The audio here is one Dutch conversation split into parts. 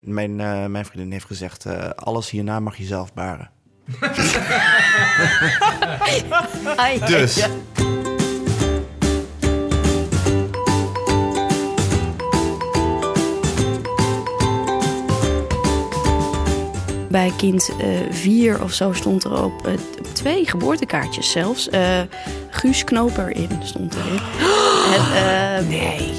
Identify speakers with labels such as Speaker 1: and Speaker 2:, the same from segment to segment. Speaker 1: mijn, eh, mijn vriendin heeft gezegd: eh, alles hierna mag je zelf baren.
Speaker 2: Ai,
Speaker 1: Dus.
Speaker 2: ja.
Speaker 3: Bij kind eh, vier of zo stond er op, eh, op twee geboortekaartjes zelfs. eh, Guus Knoper in stond erin. En, eh,
Speaker 2: Nee.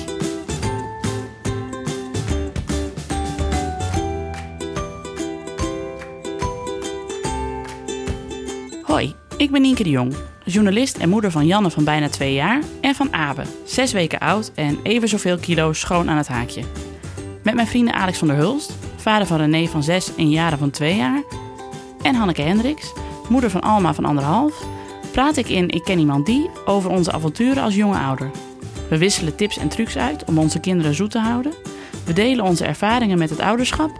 Speaker 4: Hoi, ik ben Nienke de Jong, journalist en moeder van Janne van bijna twee jaar en van Abe, zes weken oud en even zoveel kilo schoon aan het haakje. Met mijn vrienden Alex van der Hulst, vader van René van zes en Jaren van twee jaar, en Hanneke Hendricks, moeder van Alma van anderhalf, praat ik in Ik ken iemand die over onze avonturen als jonge ouder. We wisselen tips en trucs uit om onze kinderen zoet te houden. We delen onze ervaringen met het ouderschap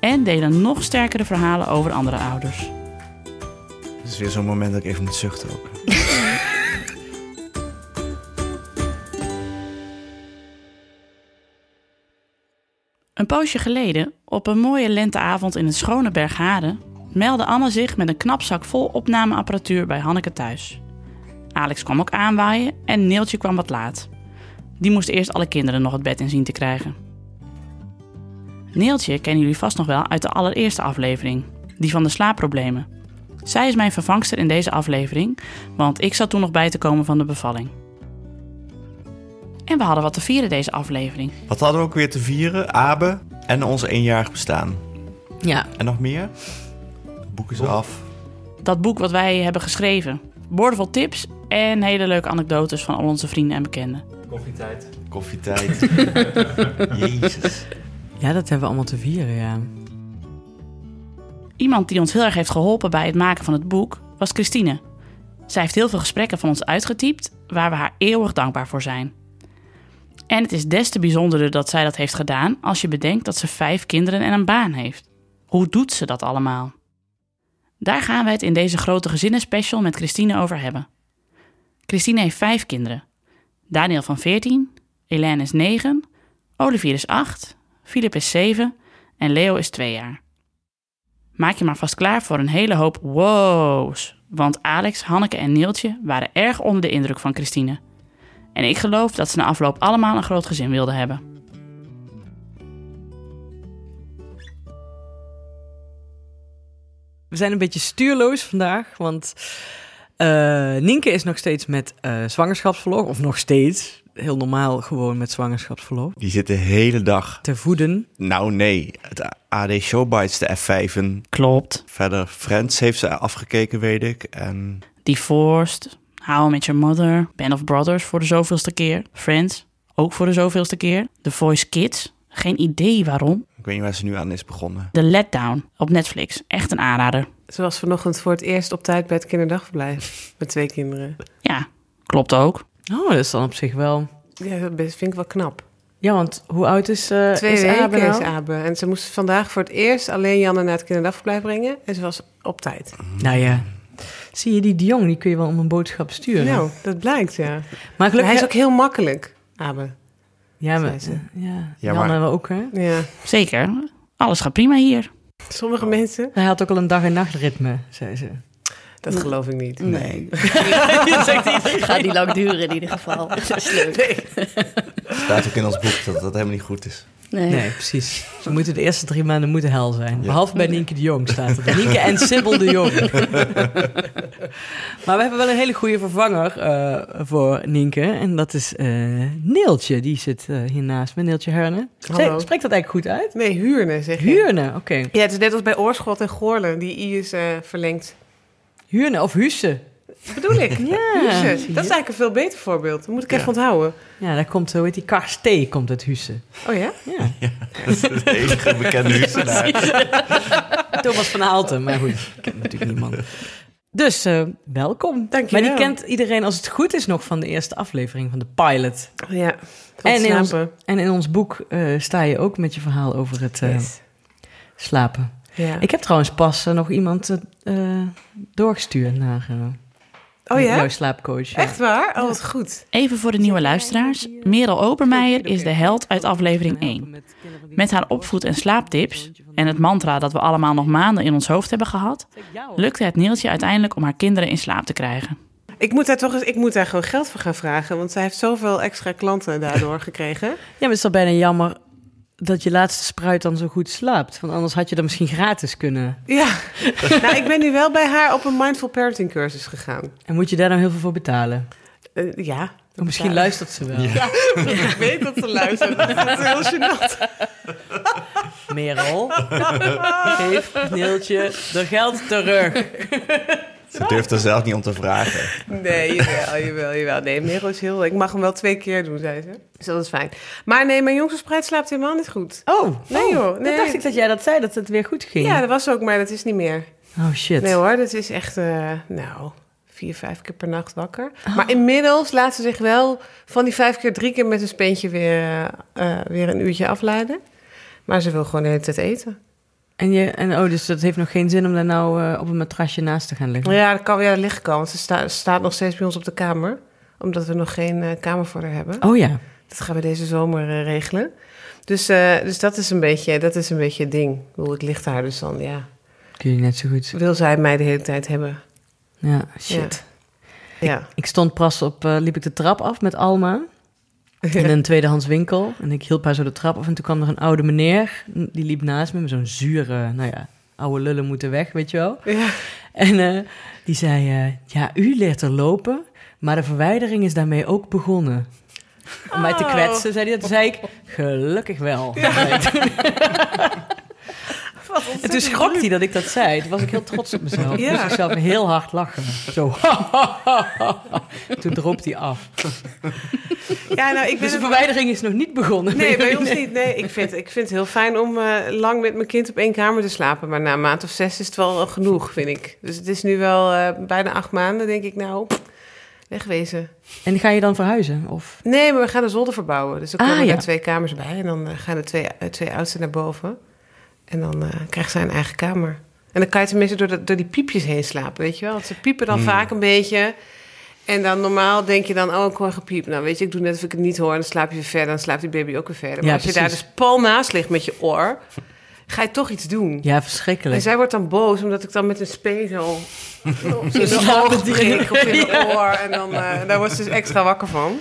Speaker 4: en delen nog sterkere verhalen over andere ouders.
Speaker 1: Het is weer zo'n moment dat ik even moet zuchten ook.
Speaker 4: Een poosje geleden, op een mooie lenteavond in het schone Bergharen, meldde Anne zich met een knapzak vol opnameapparatuur bij Hanneke thuis. Alex kwam ook aanwaaien en Neeltje kwam wat laat. Die moest eerst alle kinderen nog het bed in zien te krijgen. Neeltje kennen jullie vast nog wel uit de allereerste aflevering, die van de slaapproblemen. Zij is mijn vervangster in deze aflevering, want ik zat toen nog bij te komen van de bevalling. En we hadden wat te vieren deze aflevering.
Speaker 1: Wat hadden we ook weer te vieren? Abe en ons eenjarig bestaan.
Speaker 2: Ja.
Speaker 1: En nog meer? Het boek is af.
Speaker 4: dat boek wat wij hebben geschreven. Boordevol tips en hele leuke anekdotes van al onze vrienden en bekenden.
Speaker 5: Koffietijd.
Speaker 1: Koffietijd. Jezus.
Speaker 2: ja, dat hebben we allemaal te vieren, ja.
Speaker 4: Iemand die ons heel erg heeft geholpen bij het maken van het boek was Christine. Zij heeft heel veel gesprekken van ons uitgetypt, waar we haar eeuwig dankbaar voor zijn. En het is des te bijzonderder dat zij dat heeft gedaan als je bedenkt dat ze vijf kinderen en een baan heeft. Hoe doet ze dat allemaal? Daar gaan we het in deze grote gezinnenspecial met Christine over hebben. Christine heeft vijf kinderen. Daniel van 14, Hélène is 9, Olivier is 8, Filip is 7 en Leo is 2 jaar. Maak je maar vast klaar voor een hele hoop wows. Want Alex, Hanneke en Neeltje waren erg onder de indruk van Christine. En ik geloof dat ze na afloop allemaal een groot gezin wilden hebben.
Speaker 2: We zijn een beetje stuurloos vandaag, want eh, Nienke is nog steeds met eh, zwangerschapsverlof. Of nog steeds, heel normaal gewoon met zwangerschapsverlof.
Speaker 1: Die zit de hele dag.
Speaker 2: Te voeden.
Speaker 1: Nou nee, het AD Showbites, de F5'en.
Speaker 4: Klopt.
Speaker 1: Verder Friends heeft ze afgekeken, weet ik. En
Speaker 4: Divorced, How I Met Your Mother, Band of Brothers voor de zoveelste keer, Friends, ook voor de zoveelste keer, The Voice Kids, geen idee waarom,
Speaker 1: ik weet niet waar ze nu aan is begonnen.
Speaker 4: The Letdown op Netflix, echt een aanrader.
Speaker 6: Ze was vanochtend voor het eerst op tijd bij het kinderdagverblijf. Met twee kinderen.
Speaker 4: Ja, klopt ook.
Speaker 2: Oh, dat is dan op zich wel.
Speaker 6: Ja, dat best- vind ik wel knap.
Speaker 2: Ja, want hoe oud is, eh
Speaker 6: Twee
Speaker 2: is
Speaker 6: weken
Speaker 2: Abe nou?
Speaker 6: is Abe. En ze moest vandaag voor het eerst alleen Janne naar het kinderdagverblijf brengen. En ze was op tijd.
Speaker 2: Nou ja, zie je die Dion, die kun je wel om een boodschap sturen.
Speaker 6: Nou, dat blijkt, ja.
Speaker 2: maar
Speaker 6: Maar
Speaker 2: gelukkig
Speaker 6: hij is ook heel makkelijk, Abe.
Speaker 2: Ja, maar,
Speaker 6: zei ze.
Speaker 2: ja,
Speaker 1: Ja,
Speaker 2: Janne
Speaker 1: maar-
Speaker 2: wel ook, hè?
Speaker 6: Ja. Oh.
Speaker 4: Zeker, alles gaat prima hier.
Speaker 6: Sommige mensen,
Speaker 2: Hij had ook al een dag- en nachtritme, zei ze.
Speaker 6: dat geloof ik niet.
Speaker 1: Nee.
Speaker 3: gaat die lang duren in ieder geval. Dat is leuk.
Speaker 1: Staat ook in ons boek dat dat helemaal niet goed is.
Speaker 3: Nee.
Speaker 2: Nee, precies. Ze moeten de eerste drie maanden moeten hel zijn.
Speaker 1: Ja.
Speaker 2: Behalve bij Nienke de Jong staat het. Nienke en Sibyl de Jong. maar we hebben wel een hele goede vervanger eh, voor Nienke. En dat is eh, Neeltje. Die zit eh, hier naast me. Neeltje Herne.
Speaker 6: Hallo.
Speaker 2: Spreekt spreek dat eigenlijk goed uit?
Speaker 6: Nee, huurne zeg je.
Speaker 2: Huurne, oké.
Speaker 6: Ja, het is net als bij Oorschot en Goorlen. Die I is eh, verlengd.
Speaker 2: Huurne of Husse.
Speaker 6: Dat bedoel ik.
Speaker 2: Ja.
Speaker 6: Huurse. Dat
Speaker 2: Zie
Speaker 6: is
Speaker 2: je?
Speaker 6: eigenlijk een veel beter voorbeeld. Dat moet ik even onthouden.
Speaker 2: Ja, daar komt, hoe heet die, Karstee komt uit Husse.
Speaker 6: Oh ja?
Speaker 2: Ja.
Speaker 1: Dat is het enige bekende huisgenaar.
Speaker 2: Thomas van Aalten, maar goed, ik ken natuurlijk niemand. Dus eh, welkom.
Speaker 6: Dank je
Speaker 2: Maar die
Speaker 6: wel.
Speaker 2: kent iedereen, als het goed is, nog van de eerste aflevering van de pilot.
Speaker 6: Ja.
Speaker 2: En
Speaker 6: En
Speaker 2: in ons-
Speaker 6: slapen.
Speaker 2: En in ons boek eh, sta je ook met je verhaal over het eh,
Speaker 6: Yes.
Speaker 2: slapen.
Speaker 6: Ja.
Speaker 2: Ik heb trouwens pas eh, nog iemand eh, eh, doorgestuurd naar eh,
Speaker 6: Oh ja?
Speaker 2: Jouw slaapcoach. ja.
Speaker 6: Echt waar? Oh, wat goed.
Speaker 4: Even voor de nieuwe luisteraars. Merel Obermeijer is de held uit aflevering 1. Met haar opvoed- en slaaptips en het mantra dat we allemaal nog maanden in ons hoofd hebben gehad, lukte het Neeltje uiteindelijk om haar kinderen in slaap te krijgen.
Speaker 6: Ik moet daar toch eens, ik moet daar gewoon geld voor gaan vragen, want zij heeft zoveel extra klanten daardoor gekregen.
Speaker 2: Ja, maar het is dan bijna jammer dat je laatste spruit dan zo goed slaapt. Want anders had je dat misschien gratis kunnen.
Speaker 6: Ja. nou, ik ben nu wel bij haar op een mindful parenting cursus gegaan.
Speaker 2: En moet je daar dan heel veel voor betalen?
Speaker 6: Eh, ja.
Speaker 2: Of misschien
Speaker 6: Ja.
Speaker 2: luistert ze wel.
Speaker 6: Ik weet dat ze luistert. Dat is heel gênant.
Speaker 2: Merel, geef Neeltje de geld terug.
Speaker 1: Ze durft er zelf niet om te vragen.
Speaker 6: Nee, jawel, jawel, jawel. Nee, Merel is heel... Ik mag hem wel twee keer doen, zei ze. Dus dat is fijn. Maar nee, mijn jongste spruit slaapt helemaal niet goed.
Speaker 2: Oh,
Speaker 6: Nee, joh, nee.
Speaker 2: Dan dacht ik dat jij dat zei, dat het weer goed ging.
Speaker 6: Ja, dat was ook, maar dat is niet meer.
Speaker 2: Oh shit.
Speaker 6: Nee hoor, dat is echt, eh, nou, vier, vijf keer per nacht wakker. Maar inmiddels laat ze zich wel van die vijf keer drie keer met een speentje weer, eh, eh, weer een uurtje afleiden. Maar ze wil gewoon de hele tijd eten.
Speaker 2: En, je, en oh, dus dat heeft nog geen zin om daar nou eh, op een matrasje naast te gaan liggen.
Speaker 6: Ja, dat kan weer aan liggen komen, want ze sta- staat nog steeds bij ons op de kamer. Omdat we nog geen eh, kamer voor haar hebben.
Speaker 2: Oh ja.
Speaker 6: Dat gaan we deze zomer eh, regelen. Dus, eh, dus dat, is een beetje, dat is een beetje het ding. Ik bedoel, ik licht haar dus dan, ja.
Speaker 2: Kun je net zo goed.
Speaker 6: Wil zij mij de hele tijd hebben?
Speaker 2: Ja, shit.
Speaker 6: Ja.
Speaker 2: Ik stond pas op, eh, liep ik de trap af met Alma in een tweedehands winkel. En ik hielp haar zo de trap af en toen kwam er een oude meneer. Die liep naast me met zo'n zure, nou ja, oude lullen moeten weg, weet je wel.
Speaker 6: ja.
Speaker 2: En eh, die zei, eh, ja, u leert er lopen, maar de verwijdering is daarmee ook begonnen. Om mij te
Speaker 6: Oh.
Speaker 2: kwetsen, zei hij dat. Toen zei ik, gelukkig wel. En toen schrok hij dat ik dat zei. Toen was ik heel trots op mezelf.
Speaker 6: Ja.
Speaker 2: Toen moest ik zelf heel hard lachen. Zo. Toen droop hij af.
Speaker 6: Ja, nou, ik ben
Speaker 2: Dus de
Speaker 6: het-
Speaker 2: verwijdering is nog niet begonnen.
Speaker 6: Nee, bij ons niet. Nee, ik vind, ik vind het heel fijn om eh, lang met mijn kind op één kamer te slapen. Maar na een maand of zes is het wel genoeg, vind ik. Dus het is nu wel eh, bijna acht maanden, denk ik. Nou, wegwezen.
Speaker 2: En ga je dan verhuizen? Of?
Speaker 6: Nee, maar we gaan de zolder verbouwen. Dus dan
Speaker 2: Ah,
Speaker 6: komen
Speaker 2: ja.
Speaker 6: daar twee kamers bij. En dan eh, gaan de twee, eh, twee oudsten naar boven. En dan eh, krijgt zij een eigen kamer. En dan kan je tenminste door, dat- door die piepjes heen slapen, weet je wel. Want ze piepen dan vaak een beetje. En dan normaal denk je dan, oh, ik hoor gepiep. Nou, weet je, ik doe net of ik het niet hoor. En dan slaap je weer verder. Dan slaapt die baby ook weer verder. Maar
Speaker 2: Ja,
Speaker 6: als je daar
Speaker 2: precies.
Speaker 6: dus pal naast ligt met je oor, ga je toch iets doen.
Speaker 2: Ja,
Speaker 6: En
Speaker 2: verschrikkelijk.
Speaker 6: zij wordt dan boos, omdat ik dan met een speen zo... in de
Speaker 2: slapen
Speaker 6: oog
Speaker 2: die-
Speaker 6: prik of in de oor. En dan, eh, daar wordt ze dus extra wakker van.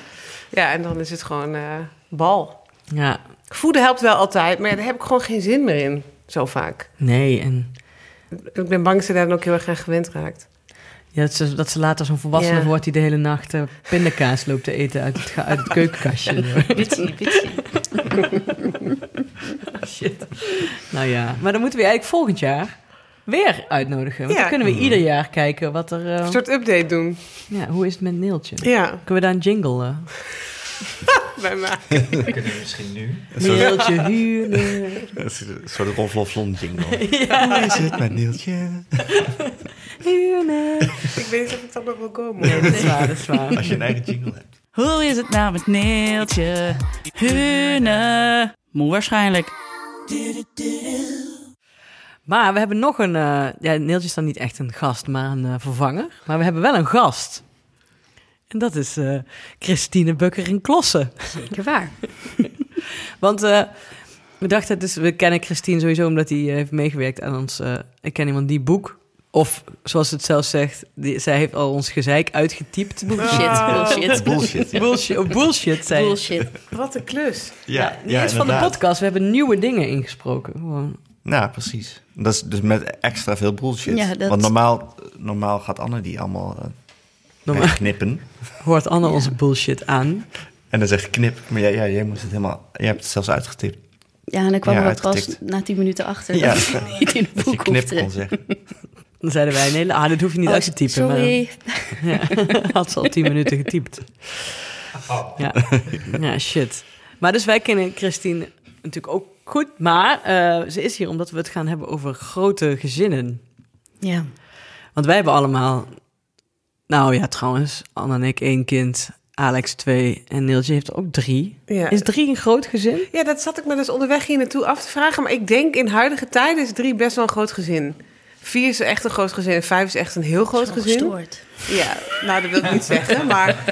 Speaker 6: Ja, en dan is het gewoon eh, bal.
Speaker 2: Ja,
Speaker 6: Voeden helpt wel altijd, maar ja, daar heb ik gewoon geen zin meer in. Zo vaak.
Speaker 2: nee. En
Speaker 6: Ik ben bang dat ze daar dan ook heel erg aan gewend raakt.
Speaker 2: ja, dat, ze, dat ze later zo'n volwassene
Speaker 6: Ja.
Speaker 2: wordt die de hele nacht eh, pindakaas loopt te eten uit het, ga- uit het keukenkastje.
Speaker 4: Bitsie, bitsie.
Speaker 2: Shit. Nou ja, maar dan moeten we je eigenlijk volgend jaar weer uitnodigen. Want
Speaker 6: Ja.
Speaker 2: dan kunnen we ieder jaar kijken wat er... eh,
Speaker 6: Een soort update doen.
Speaker 2: ja, hoe is het met Neeltje?
Speaker 6: Ja,
Speaker 2: Kunnen we daar een jingle? eh?
Speaker 6: bij mij.
Speaker 5: kunnen we misschien nu.
Speaker 2: Neeltje huurder.
Speaker 1: Dat is Een soort ronfloflon jingle. Hoe is het met Nieltje?
Speaker 2: Huurder.
Speaker 6: Ik weet niet of ik dat nog wil komen.
Speaker 2: Nee, dat is waar, dat is waar.
Speaker 1: Als je een eigen jingle hebt.
Speaker 4: Hoe is het nou met Neeltje? Hune. Moe waarschijnlijk.
Speaker 2: Maar we hebben nog een... eh, ja, Neeltje is dan niet echt een gast, maar een eh, vervanger. Maar we hebben wel een gast. En dat is eh, Christine Bukker in Klossen.
Speaker 3: Zeker waar.
Speaker 2: Want eh, we dachten, het is- we kennen Christine sowieso omdat hij heeft meegewerkt aan ons eh, Ik ken iemand die boek. Of zoals het zelf zegt, die, zij heeft al ons gezeik uitgetypt.
Speaker 3: Bullshit, bullshit,
Speaker 1: Bullshit. Ja,
Speaker 2: Ah. Bullshit, oh, bullshit zei je.
Speaker 3: bullshit.
Speaker 6: Wat een klus.
Speaker 2: Ja,
Speaker 1: ja,
Speaker 2: niet eens van de
Speaker 1: inderdaad.
Speaker 2: podcast. We hebben nieuwe dingen ingesproken. Gewoon.
Speaker 1: Nou, precies. Dat is dus met extra veel bullshit.
Speaker 3: Ja, dat-
Speaker 1: Want normaal, normaal gaat Anne die allemaal eh,
Speaker 2: Normaal
Speaker 1: knippen.
Speaker 2: hoort Anne onze bullshit aan.
Speaker 1: En dan zeg je knip. Maar jij, ja, jij moest het helemaal... Jij hebt het zelfs uitgetipt.
Speaker 3: Ja, en dan kwam
Speaker 1: Ja,
Speaker 3: er ook pas
Speaker 1: uitgetikt.
Speaker 3: na tien minuten achter
Speaker 1: Ja.
Speaker 3: dat ik niet in het
Speaker 1: Dat je
Speaker 3: boek
Speaker 1: knip
Speaker 3: hoefde.
Speaker 1: kon zeggen.
Speaker 2: Dan zeiden wij, nee, ah, dat hoef je niet
Speaker 3: Oh,
Speaker 2: uit te typen.
Speaker 3: Sorry.
Speaker 2: Maar, had ze al tien minuten getypt. Ja. ja, shit. Maar dus wij kennen Christine natuurlijk ook goed. Maar eh, ze is hier omdat we het gaan hebben over grote gezinnen.
Speaker 3: Ja.
Speaker 2: Want wij hebben allemaal... Nou ja, trouwens, Anne en ik één kind, Alex twee en Neeltje heeft er ook drie.
Speaker 6: Ja.
Speaker 2: Is drie een groot gezin?
Speaker 6: ja, dat zat ik me dus onderweg hier naartoe af te vragen. Maar ik denk in huidige tijden is drie best wel een groot gezin. Vier is echt een groot gezin en vijf is echt een heel groot gezin.
Speaker 3: Gestoord.
Speaker 6: Ja, nou dat wil ik niet zeggen. Maar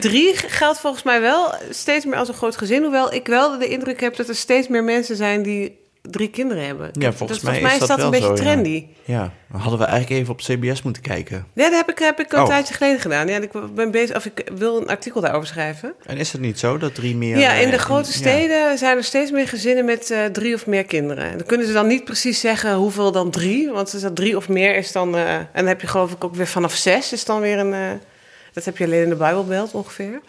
Speaker 6: drie geldt volgens mij wel steeds meer als een groot gezin. Hoewel ik wel de indruk heb dat er steeds meer mensen zijn die drie kinderen hebben. Dat-
Speaker 1: volgens
Speaker 6: dat,
Speaker 1: mij is
Speaker 6: volgens mij is
Speaker 1: dat
Speaker 6: dat,
Speaker 1: wel
Speaker 6: een beetje
Speaker 1: zo, ja.
Speaker 6: trendy.
Speaker 1: Ja, dan hadden we eigenlijk even op CBS moeten kijken.
Speaker 6: Ja, dat heb ik, heb ik een
Speaker 1: Oh.
Speaker 6: tijdje geleden gedaan. Ja, ik ben bezig of ik wil een artikel daarover schrijven.
Speaker 1: En is het niet zo dat drie meer...
Speaker 6: Ja,
Speaker 1: eh,
Speaker 6: in de grote
Speaker 1: ja.
Speaker 6: steden zijn er steeds meer gezinnen met eh, drie of meer kinderen. En dan kunnen ze dan niet precies zeggen hoeveel dan drie. Want als dat drie of meer is dan... eh, en dan heb je geloof ik ook weer vanaf zes is dan weer een... eh, dat heb je alleen in de Bijbelbelt ongeveer.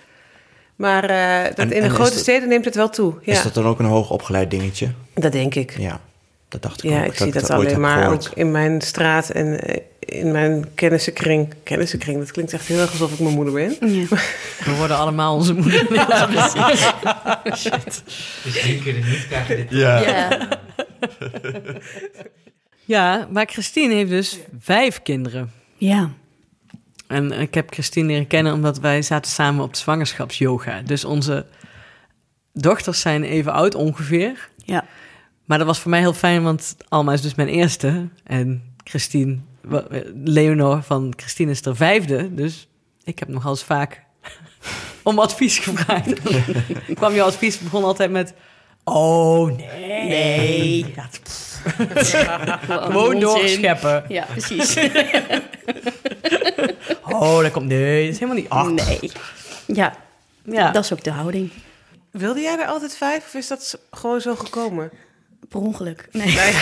Speaker 6: Maar eh, dat
Speaker 1: En-
Speaker 6: in
Speaker 1: en
Speaker 6: de
Speaker 1: is
Speaker 6: grote
Speaker 1: dat-
Speaker 6: steden neemt het wel toe. Ja,
Speaker 1: Is
Speaker 6: dat...
Speaker 1: dat dan ook een hoogopgeleid dingetje?
Speaker 6: denk ik. Ja,
Speaker 1: Ja, dat dacht ik ook.
Speaker 6: ik zie dat,
Speaker 1: ooit
Speaker 6: alleen
Speaker 1: heb
Speaker 6: maar
Speaker 1: gehoord.
Speaker 6: ook in mijn straat en eh, in mijn kennissenkring. Kennissenkring, dat klinkt echt heel erg alsof ik mijn moeder ben.
Speaker 3: Ja.
Speaker 2: We worden allemaal onze moeder. Ja, precies.
Speaker 5: Dus drie keer niet krijgen dit.
Speaker 1: Ja.
Speaker 3: Ja.
Speaker 2: ja, maar Christine heeft dus vijf kinderen.
Speaker 3: ja.
Speaker 2: En ik heb Christine leren kennen omdat wij zaten samen op de zwangerschapsyoga. Dus onze dochters zijn even oud ongeveer.
Speaker 3: Ja.
Speaker 2: Maar dat was voor mij heel fijn, want Alma is dus mijn eerste. En Christine, wa- eh, Leonor van Christine is de vijfde. Dus ik heb nogal eens vaak om advies gevraagd. Ik kwam jouw advies, begon altijd met... Oh, nee. Nee. Dat, pff, gewoon doorscheppen.
Speaker 3: Ja, precies.
Speaker 2: Oh, dat komt... Nee, dat is helemaal niet... Ach,
Speaker 3: Nee. Ja,
Speaker 2: ja.
Speaker 3: dat is ook de houding.
Speaker 6: Wilde jij er altijd vijf of is dat z- gewoon zo gekomen?
Speaker 3: Per ongeluk. Nee.
Speaker 6: Nou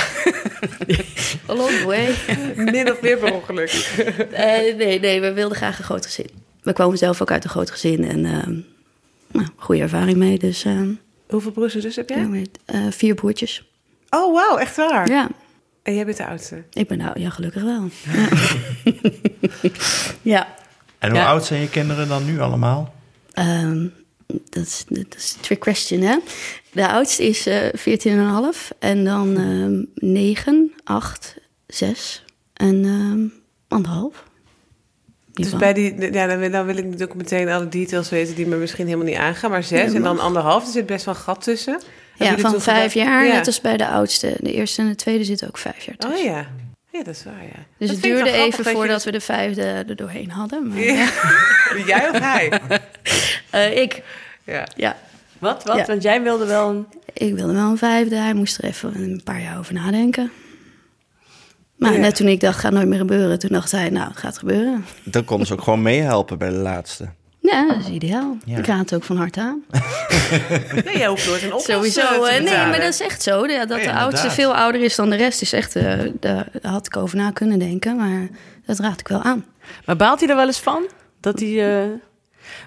Speaker 3: Along the way.
Speaker 6: Min of meer per ongeluk.
Speaker 3: Eh, nee, nee, we wilden graag een groot gezin. We kwamen zelf ook uit een groot gezin en ehm, nou, goede ervaring mee. Dus ehm,
Speaker 6: Hoeveel broers en zussen heb
Speaker 3: ja,
Speaker 6: jij?
Speaker 3: maar, eh, vier broertjes.
Speaker 6: Oh, wauw, echt waar.
Speaker 3: Ja,
Speaker 6: En jij bent de oudste.
Speaker 3: ik ben nou, ja, gelukkig wel. Ja, ja
Speaker 1: En hoe
Speaker 2: Ja.
Speaker 1: oud zijn je kinderen dan nu allemaal?
Speaker 3: ehm, dat, is, dat is de trick question, hè? De oudste is eh 14,5 en dan ehm 9, 8, 6 en ehm anderhalf. Die
Speaker 6: Dus
Speaker 3: van-
Speaker 6: bij die, ja, dan, wil, dan wil ik natuurlijk meteen alle details weten die me misschien helemaal niet aangaan. Maar zes
Speaker 3: Ja,
Speaker 6: en dan
Speaker 3: mag.
Speaker 6: anderhalf, er zit best wel een gat tussen. Hebben
Speaker 3: ja,
Speaker 6: jullie
Speaker 3: van
Speaker 6: toen
Speaker 3: vijf
Speaker 6: gedacht-
Speaker 3: jaar,
Speaker 6: Ja.
Speaker 3: net als bij de oudste. De eerste en de tweede zitten ook vijf jaar tussen.
Speaker 6: Oh ja. Ja, dat is waar, ja.
Speaker 3: Dus het
Speaker 6: Dat vind ik wel
Speaker 3: duurde even
Speaker 6: grappig dat je
Speaker 3: voordat we de vijfde er doorheen hadden. Maar,
Speaker 6: dat- Ja. Jij of hij?
Speaker 3: Eh, ik,
Speaker 6: Ja.
Speaker 3: ja,
Speaker 2: Wat, wat?
Speaker 3: Ja.
Speaker 2: Want jij wilde wel een...
Speaker 3: ik wilde wel een vijfde. Hij moest er even een paar jaar over nadenken. Maar
Speaker 6: Ja.
Speaker 3: net toen ik dacht, gaat nooit meer gebeuren, toen dacht hij, nou, het gaat gebeuren.
Speaker 1: Dan konden ze ook gewoon meehelpen bij de laatste.
Speaker 3: Ja, dat is ideaal.
Speaker 1: Ja.
Speaker 3: Ik raad het ook van harte aan.
Speaker 6: Nee, jij hoeft nooit een oplossing
Speaker 3: Sowieso.
Speaker 6: te
Speaker 3: eh, nee,
Speaker 6: betalen.
Speaker 3: maar dat is echt zo. Ja, dat de
Speaker 1: inderdaad.
Speaker 3: oudste veel ouder is dan de rest, is echt, eh, daar had ik over na kunnen denken. Maar dat raad ik wel aan.
Speaker 2: Maar baalt hij er wel eens van? Dat hij. eh,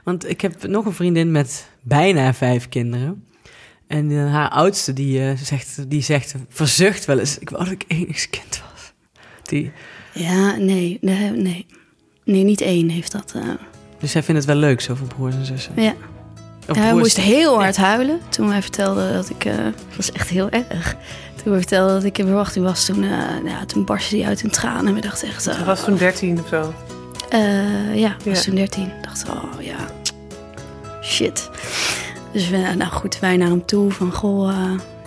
Speaker 2: Want ik heb nog een vriendin met bijna vijf kinderen. En eh, haar oudste die, eh, zegt, die zegt, verzucht wel eens. Ik wou dat ik enigskind was. Die,
Speaker 3: Ja, nee, nee, nee. Nee, niet één heeft dat. eh,
Speaker 2: dus zij vindt het wel leuk, zoveel broers en zussen.
Speaker 3: ja.
Speaker 2: Of
Speaker 3: hij
Speaker 2: broers-
Speaker 3: moest heel hard huilen toen wij vertelden dat ik... eh, het was echt heel erg. Toen we vertelden dat ik in verwachting was, toen, eh, ja, toen barstte hij uit in tranen. En we dachten echt... eh,
Speaker 6: Ze was toen dertien of zo.
Speaker 3: eh, ja, was
Speaker 6: Ja.
Speaker 3: toen 13. Dacht oh ja, shit. Dus we, nou goed, wij naar hem toe van, goh, eh,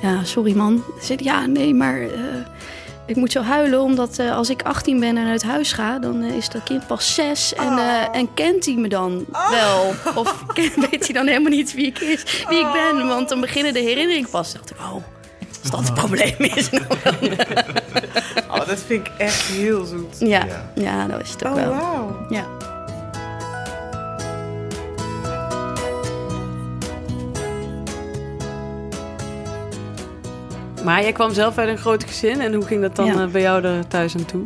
Speaker 3: ja, sorry man. Hij zei, ja, nee, maar eh, ik moet zo huilen omdat eh, als ik 18 ben en uit huis ga, dan eh, is dat kind pas 6.
Speaker 6: Oh.
Speaker 3: En, eh, en kent hij me dan wel? Of weet hij dan helemaal niet wie ik, is, wie ik
Speaker 6: Oh.
Speaker 3: ben? Want dan beginnen de herinneringen pas. Dacht ik, oh, als dat het probleem is.
Speaker 6: Oh, dat vind ik echt heel zoet.
Speaker 3: ja, ja, dat was het ook
Speaker 6: Oh,
Speaker 3: wel.
Speaker 6: wauw.
Speaker 3: Ja.
Speaker 2: Maar jij kwam zelf uit een groot gezin. En hoe ging dat dan
Speaker 3: Ja.
Speaker 2: eh, bij jou er thuis aan toe?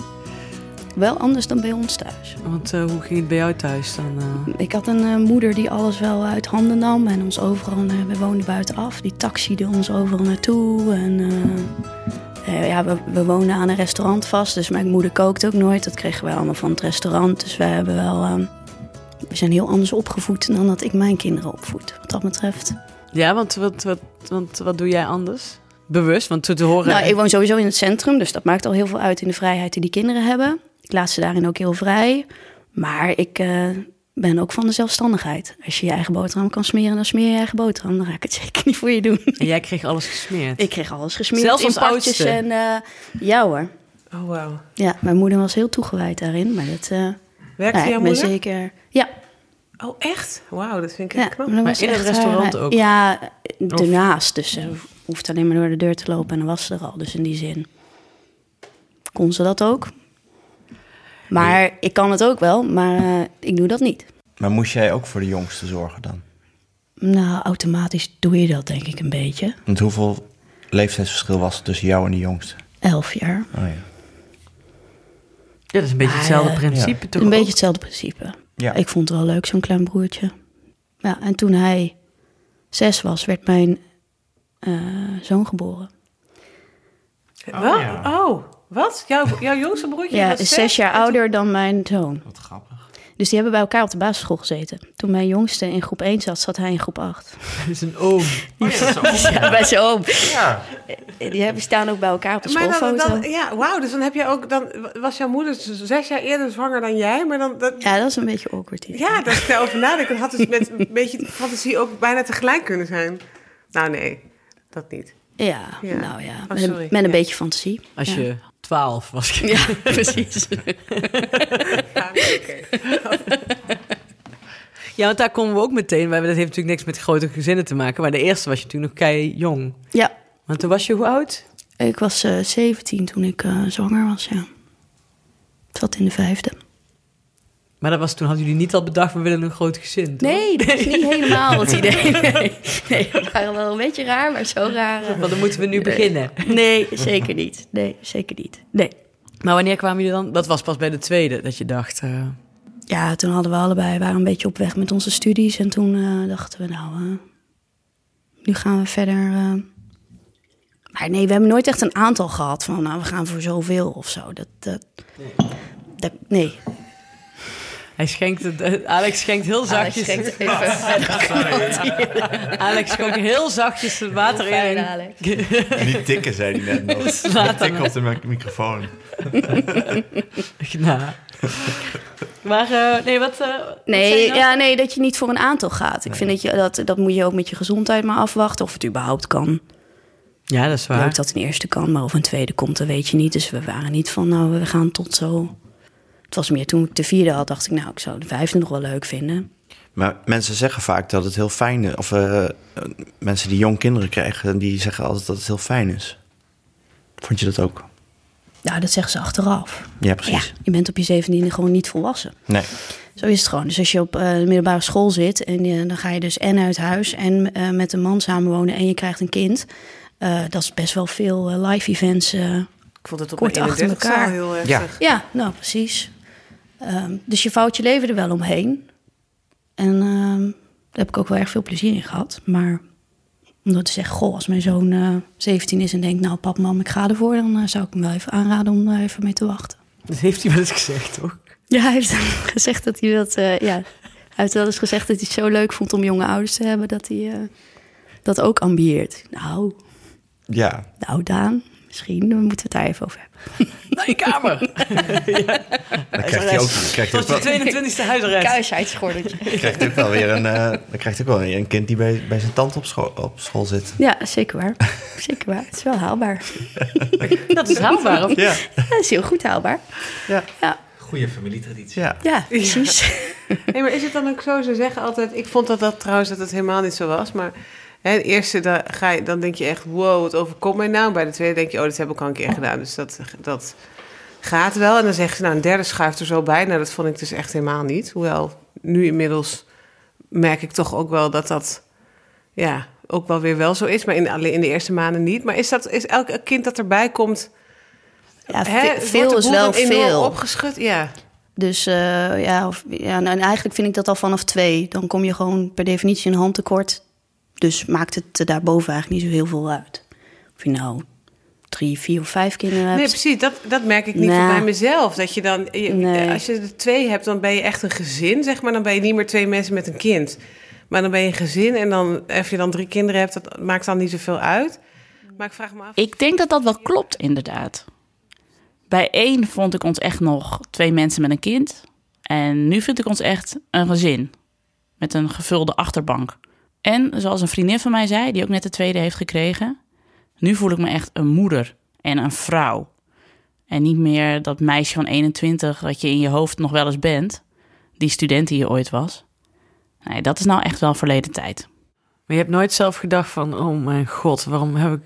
Speaker 3: Wel anders dan bij ons thuis.
Speaker 2: Want eh, hoe ging het bij jou thuis dan? eh?
Speaker 3: Ik had een eh, moeder die alles wel uit handen nam en ons overal, eh, we woonden buitenaf, die taxiede ons overal naartoe. En eh, eh, ja, we, we woonden aan een restaurant vast, dus mijn moeder kookt ook nooit. Dat kregen wij allemaal van het restaurant. Dus wij hebben wel, eh, we zijn heel anders opgevoed dan dat ik mijn kinderen opvoed, wat dat betreft.
Speaker 2: Ja, want wat, wat, want wat doe jij anders? Bewust, want te horen...
Speaker 3: Nou, ik woon sowieso in het centrum, dus dat maakt al heel veel uit in de vrijheid die die kinderen hebben. Ik laat ze daarin ook heel vrij. Maar ik eh, ben ook van de zelfstandigheid. Als je je eigen boterham kan smeren, dan smeer je je eigen boterham. Dan ga ik het zeker niet voor je doen.
Speaker 2: En jij kreeg alles gesmeerd.
Speaker 3: Ik kreeg alles gesmeerd.
Speaker 2: Zelfs
Speaker 3: in
Speaker 2: als
Speaker 3: partjes
Speaker 2: oudste?
Speaker 3: En eh ja hoor.
Speaker 6: Oh, wauw.
Speaker 3: Ja, mijn moeder was heel toegewijd daarin. Maar dat eh,
Speaker 6: Werkte
Speaker 3: nou ja,
Speaker 6: jouw
Speaker 3: ik ben
Speaker 6: moeder?
Speaker 3: zeker. Ja,
Speaker 6: Oh, echt? Wauw, dat vind ik
Speaker 3: ja Mm.
Speaker 6: echt knap.
Speaker 3: dat
Speaker 2: Maar
Speaker 3: was
Speaker 2: in het
Speaker 3: echt,
Speaker 2: restaurant
Speaker 3: eh,
Speaker 2: ook?
Speaker 3: Ja, daarnaast. Dus ze hoeft alleen maar door de deur te lopen en dan was ze er al. Dus in die zin kon ze dat ook. Maar ik kan het ook wel, maar eh, ik doe dat niet.
Speaker 1: Maar moest jij ook voor de jongste zorgen dan?
Speaker 3: Nou, automatisch doe je dat denk ik een beetje.
Speaker 1: Want hoeveel leeftijdsverschil was er tussen jou en de jongste?
Speaker 3: Elf jaar.
Speaker 1: Oh ja.
Speaker 2: Ja, dat is een beetje
Speaker 3: Maar,
Speaker 2: hetzelfde
Speaker 3: eh,
Speaker 2: principe toch?
Speaker 3: een beetje
Speaker 2: ook?
Speaker 3: hetzelfde principe.
Speaker 1: Ja.
Speaker 3: Ik vond het wel leuk, zo'n klein broertje. Ja, en toen hij zes was, werd mijn eh, zoon geboren.
Speaker 6: Wat? Oh, wat? Jouw, jouw jongste broertje
Speaker 3: Ja,
Speaker 6: was
Speaker 3: is zes jaar ouder dan mijn zoon.
Speaker 5: Wat grappig.
Speaker 3: Dus die hebben bij elkaar op de basisschool gezeten. Toen mijn jongste in groep 1 zat, zat hij in groep 8.
Speaker 2: Dat is een oom.
Speaker 5: Oh, ja, dat is ook-
Speaker 3: Ja, bij zijn oom.
Speaker 5: ja.
Speaker 3: Die hebben staan ook bij elkaar op de
Speaker 6: Maar dan,
Speaker 3: schoolfoto.
Speaker 6: dan, ja, wauw, dus dan heb je ook, dan was jouw moeder z- zes jaar eerder zwanger dan jij, maar dan, dat,
Speaker 3: Ja, dat is een beetje awkward hier.
Speaker 6: ja, dat ik daarover nadenk, dan had het met een beetje fantasie ook bijna tegelijk kunnen zijn. Nou nee, dat niet.
Speaker 3: Ja,
Speaker 6: Ja.
Speaker 3: nou ja.
Speaker 6: Oh,
Speaker 3: met een,
Speaker 6: sorry.
Speaker 3: met een
Speaker 6: Ja.
Speaker 3: beetje fantasie.
Speaker 2: Als
Speaker 3: ja.
Speaker 2: je twaalf was.
Speaker 3: Ja, precies.
Speaker 6: Ja, nee, oké.
Speaker 2: Ja, want daar komen we ook meteen. bij. Dat heeft natuurlijk niks met grote gezinnen te maken. Maar de eerste was je toen nog kei jong.
Speaker 3: Ja,
Speaker 2: Want toen was je hoe oud?
Speaker 3: ik was eh 17 toen ik eh, zwanger was, ja. Ik zat in de vijfde.
Speaker 2: Maar dat was, toen hadden jullie niet al bedacht, we willen een groot gezin. toch?
Speaker 3: Nee, dat is niet helemaal het idee. Nee, nee we waren wel een beetje raar, maar zo raar. eh,
Speaker 2: Want dan moeten we nu beginnen.
Speaker 3: Nee, zeker niet. Nee, zeker niet. Nee.
Speaker 2: Maar wanneer kwamen jullie dan? Dat was pas bij de tweede dat je dacht. eh,
Speaker 3: Ja, toen hadden we allebei, waren een beetje op weg met onze studies. En toen eh, dachten we, nou, eh, nu gaan we verder. eh. Maar nee, we hebben nooit echt een aantal gehad van, nou, we gaan voor zoveel of zo. Dat, dat, dat, nee.
Speaker 2: hij schenkt het, eh, Alex schenkt heel zachtjes.
Speaker 3: Alex schenkt even verder.
Speaker 2: Alex schonk heel zachtjes het water
Speaker 3: Fijn,
Speaker 2: in.
Speaker 3: Alex.
Speaker 1: Niet tikken, zei hij net nog.
Speaker 2: Slaat dan
Speaker 1: Tikken op de mic- microfoon.
Speaker 2: Nou. Maar eh, nee, wat. eh, wat zei
Speaker 3: Nee,
Speaker 2: je nou?
Speaker 3: ja, nee, dat je niet voor een aantal gaat. Ik vind dat, je, dat dat moet je ook met je gezondheid maar afwachten of het überhaupt kan.
Speaker 2: ja, dat is waar.
Speaker 3: Leuk dat een eerste kan, maar of een tweede komt, dat weet je niet. Dus we waren niet van, nou, we gaan tot zo. Het was meer toen ik de vierde had, dacht ik, nou, ik zou de vijfde nog wel leuk vinden.
Speaker 1: Maar mensen zeggen vaak dat het heel fijn is. Of eh, eh, mensen die jong kinderen krijgen, die zeggen altijd dat het heel fijn is. Vond je dat ook?
Speaker 3: Nou, dat zeggen ze achteraf.
Speaker 1: Ja,
Speaker 3: Ja,
Speaker 1: precies.
Speaker 3: je bent op je zeventiende gewoon niet volwassen.
Speaker 1: Nee.
Speaker 3: Zo is het gewoon. Dus als je op eh, de middelbare school zit en je- dan ga je dus en uit huis en eh, met een man samenwonen en je krijgt een kind. eh, dat is best wel veel eh, live events. eh.
Speaker 6: Ik vond het op
Speaker 3: Kort
Speaker 6: mijn
Speaker 3: achter
Speaker 6: 31ste
Speaker 3: elkaar.
Speaker 6: al heel erg.
Speaker 1: Ja.
Speaker 3: Ja, nou precies. Ehm, dus je vouwt je leven er wel omheen. En ehm, daar heb ik ook wel erg veel plezier in gehad. Maar omdat te zeggen, goh, als mijn zoon eh, 17 is en denkt, nou pap, mam, ik ga ervoor, dan eh, zou ik hem wel even aanraden om daar even mee te wachten.
Speaker 2: Dat heeft hij wel eens gezegd, toch?
Speaker 3: Ja, hij heeft gezegd dat hij dat. eh, ja, hij heeft wel eens gezegd dat hij het zo leuk vond om jonge ouders te hebben dat hij eh, dat ook ambieert. Nou,
Speaker 1: Ja.
Speaker 3: nou Daan, misschien moeten we het daar even over hebben.
Speaker 2: Naar je kamer.
Speaker 1: Dan krijgt hij ook, krijgt hij
Speaker 2: Tot
Speaker 1: ook
Speaker 2: je
Speaker 1: wel,
Speaker 2: 22e huisarrest.
Speaker 3: Kuisheidsgordetje.
Speaker 1: krijgt hij ook wel weer een, eh, dan krijgt hij ook wel weer een kind die bij, bij zijn tante op school, op school zit.
Speaker 3: Ja, zeker waar. Zeker waar. Het is wel haalbaar.
Speaker 2: Dat is haalbaar. of-
Speaker 1: Ja.
Speaker 3: Ja, het is heel goed haalbaar.
Speaker 1: Ja.
Speaker 3: Ja,
Speaker 5: Goeie familietraditie.
Speaker 1: Ja.
Speaker 3: ja precies.
Speaker 6: Nee, maar is het dan ook zo? Ze zeggen altijd, ik vond dat dat trouwens dat het helemaal niet zo was, maar hè, het eerste dan, ga je, dan denk je echt, wow, wat overkomt mij nou? Bij de tweede denk je, oh, dat heb ik al een keer gedaan, dus dat, dat gaat wel. En dan zeggen ze, nou, een derde schuift er zo bij. Nou, dat vond ik dus echt helemaal niet. Hoewel, nu inmiddels merk ik toch ook wel dat dat, ja, ook wel weer wel zo is, maar in, alleen in de eerste maanden niet. Maar is dat, is elk kind dat erbij komt,
Speaker 3: Ja, ve-
Speaker 6: hè, wordt de
Speaker 3: Ah, veel is
Speaker 6: boel
Speaker 3: wel
Speaker 6: dan enorm
Speaker 3: veel.
Speaker 6: opgeschud? Ja.
Speaker 3: Dus eh, ja, of, ja nou, en eigenlijk vind ik dat al vanaf twee. Dan kom je gewoon per definitie een handtekort. Dus maakt het eh, daarboven eigenlijk niet zo heel veel uit. Of je nou drie, vier of vijf kinderen hebt.
Speaker 6: Nee, precies. Dat, dat merk ik niet
Speaker 3: Nou.
Speaker 6: bij mezelf. Dat je dan, je-
Speaker 3: Nee.
Speaker 6: als je er twee hebt, dan ben je echt een gezin, zeg maar. Dan ben je niet meer twee mensen met een kind. Maar dan ben je een gezin en dan, of je dan drie kinderen hebt, dat maakt dan niet zoveel uit. Maar ik vraag me af.
Speaker 4: Ik denk dat dat wel klopt, inderdaad. Bij één vond ik ons echt nog twee mensen met een kind. En nu vind ik ons echt een gezin. Met een gevulde achterbank. En zoals een vriendin van mij zei, die ook net de tweede heeft gekregen. Nu voel ik me echt een moeder en een vrouw. En niet meer dat meisje van 21 wat je in je hoofd nog wel eens bent. Die student die je ooit was. Nee, dat is nou echt wel verleden tijd.
Speaker 2: Maar je hebt nooit zelf gedacht van, oh mijn god, waarom heb ik...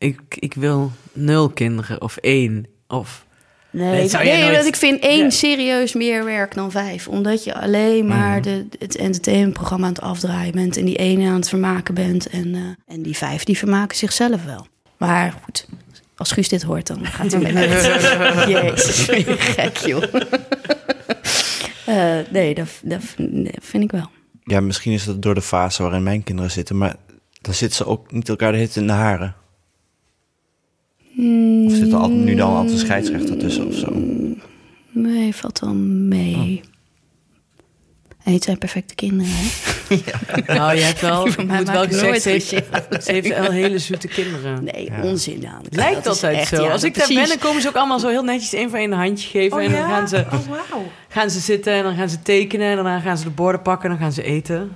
Speaker 2: Ik, ik wil nul kinderen of één of...
Speaker 3: Nee,
Speaker 2: dat zou jij nooit-
Speaker 3: want ik vind één
Speaker 2: Ja. Mhm.
Speaker 3: serieus meer werk dan vijf. Omdat je alleen maar de, het entertainmentprogramma aan het afdraaien bent... en die ene aan het vermaken bent. En, eh, en die vijf, die vermaken zichzelf wel. Maar goed, als Guus dit hoort, dan gaat hij mee. Jezus, ben je gek, joh. Eh, nee, dat, dat nee, vind ik wel.
Speaker 1: Ja, misschien is dat door de fase waarin mijn kinderen zitten, maar dan zitten ze ook niet elkaar de hit in de haren. Of zit er al- nu dan altijd een scheidsrechter tussen of zo?
Speaker 3: Nee, valt wel mee.
Speaker 2: Oh.
Speaker 3: En het zijn perfecte kinderen, hè?
Speaker 2: Nou, je hebt wel,
Speaker 3: Die
Speaker 2: je
Speaker 3: van mij
Speaker 2: moet wel
Speaker 3: maken
Speaker 2: gezegd,
Speaker 3: nooit
Speaker 2: ze heeft,
Speaker 3: gezellig.
Speaker 2: ze heeft wel hele zoete kinderen.
Speaker 3: Nee, onzin aan.
Speaker 2: Lijkt
Speaker 3: dat is
Speaker 2: altijd
Speaker 3: echt,
Speaker 2: zo.
Speaker 3: ja,
Speaker 2: Als ik daar ben,
Speaker 3: precies.
Speaker 2: dan komen ze ook allemaal zo heel netjes één voor één een handje geven. en dan gaan ze,
Speaker 6: Oh, wauw.
Speaker 2: gaan ze zitten en dan gaan ze tekenen. En daarna gaan ze de borden pakken en dan gaan ze eten.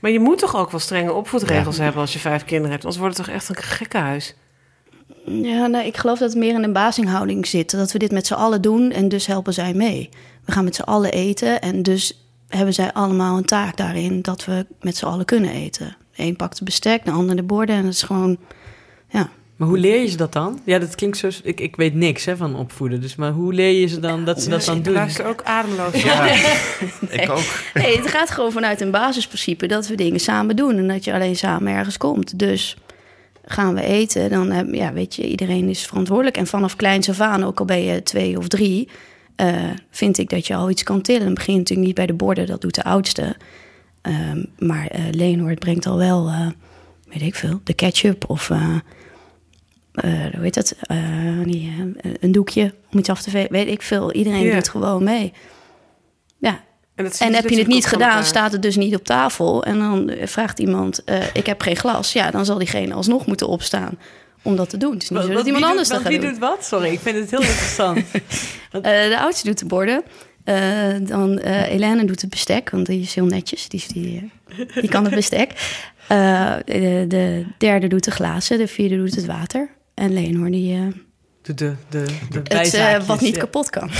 Speaker 6: Maar je moet toch ook wel strenge opvoedregels hebben als je vijf kinderen hebt. Anders wordt het toch echt een gekkenhuis.
Speaker 3: Ja, nee, ik geloof dat het meer in een basinghouding zit. Dat we dit met z'n allen doen en dus helpen zij mee. We gaan met z'n allen eten en dus hebben zij allemaal een taak daarin dat we met z'n allen kunnen eten. De een pakt het bestek, de ander de borden en dat is gewoon, ja.
Speaker 2: Maar hoe leer je ze dat dan? Ja, dat klinkt zo... Ik, ik weet niks hè, van opvoeden. Dus, maar hoe leer je ze dan dat ze dat dan
Speaker 6: Dus Ik
Speaker 2: doen?
Speaker 6: luister ook ademloos.
Speaker 1: Ja, ik ook.
Speaker 3: Nee, het gaat gewoon vanuit een basisprincipe dat we dingen samen doen en dat je alleen samen ergens komt. Dus gaan we eten, dan heb, ja, weet je, iedereen is verantwoordelijk. En vanaf kleins af aan, ook al ben je twee of drie, eh, vind ik dat je al iets kan tillen. Het begint natuurlijk niet bij de borden, dat doet de oudste. Ehm, maar eh Leonard brengt al wel, eh, weet ik veel, de ketchup of eh, eh, hoe heet dat? Eh, die, eh, een doekje om iets af te vegen. Weet ik veel. Iedereen
Speaker 6: Ja.
Speaker 3: doet gewoon mee. Ja,
Speaker 6: En, dus dat zien
Speaker 3: en
Speaker 6: ze
Speaker 3: heb je het
Speaker 6: natuurlijk
Speaker 3: niet
Speaker 6: ook van
Speaker 3: gedaan,
Speaker 6: elkaar.
Speaker 3: staat het dus niet op tafel. En dan eh, vraagt iemand, eh, ik heb geen glas. Ja, dan zal diegene alsnog moeten opstaan om dat te doen. Het is niet
Speaker 2: Want-
Speaker 3: zo dat
Speaker 2: want
Speaker 3: iemand
Speaker 2: wie
Speaker 3: anders
Speaker 2: doet,
Speaker 3: dat
Speaker 2: want
Speaker 3: gaat
Speaker 2: wie
Speaker 3: doen.
Speaker 2: doet wat? Sorry, ik vind het heel interessant.
Speaker 3: Eh, de oudste doet de borden. Eh, dan eh Elena doet het bestek, want die is heel netjes. Die, is- die, eh, die kan het bestek. Eh, de, de derde doet de glazen, de vierde doet het water. En Leenhoorn die eh,
Speaker 2: De, de, de, de
Speaker 3: het eh,
Speaker 2: bijzaakjes,
Speaker 3: wat niet
Speaker 2: ja.
Speaker 3: kapot kan.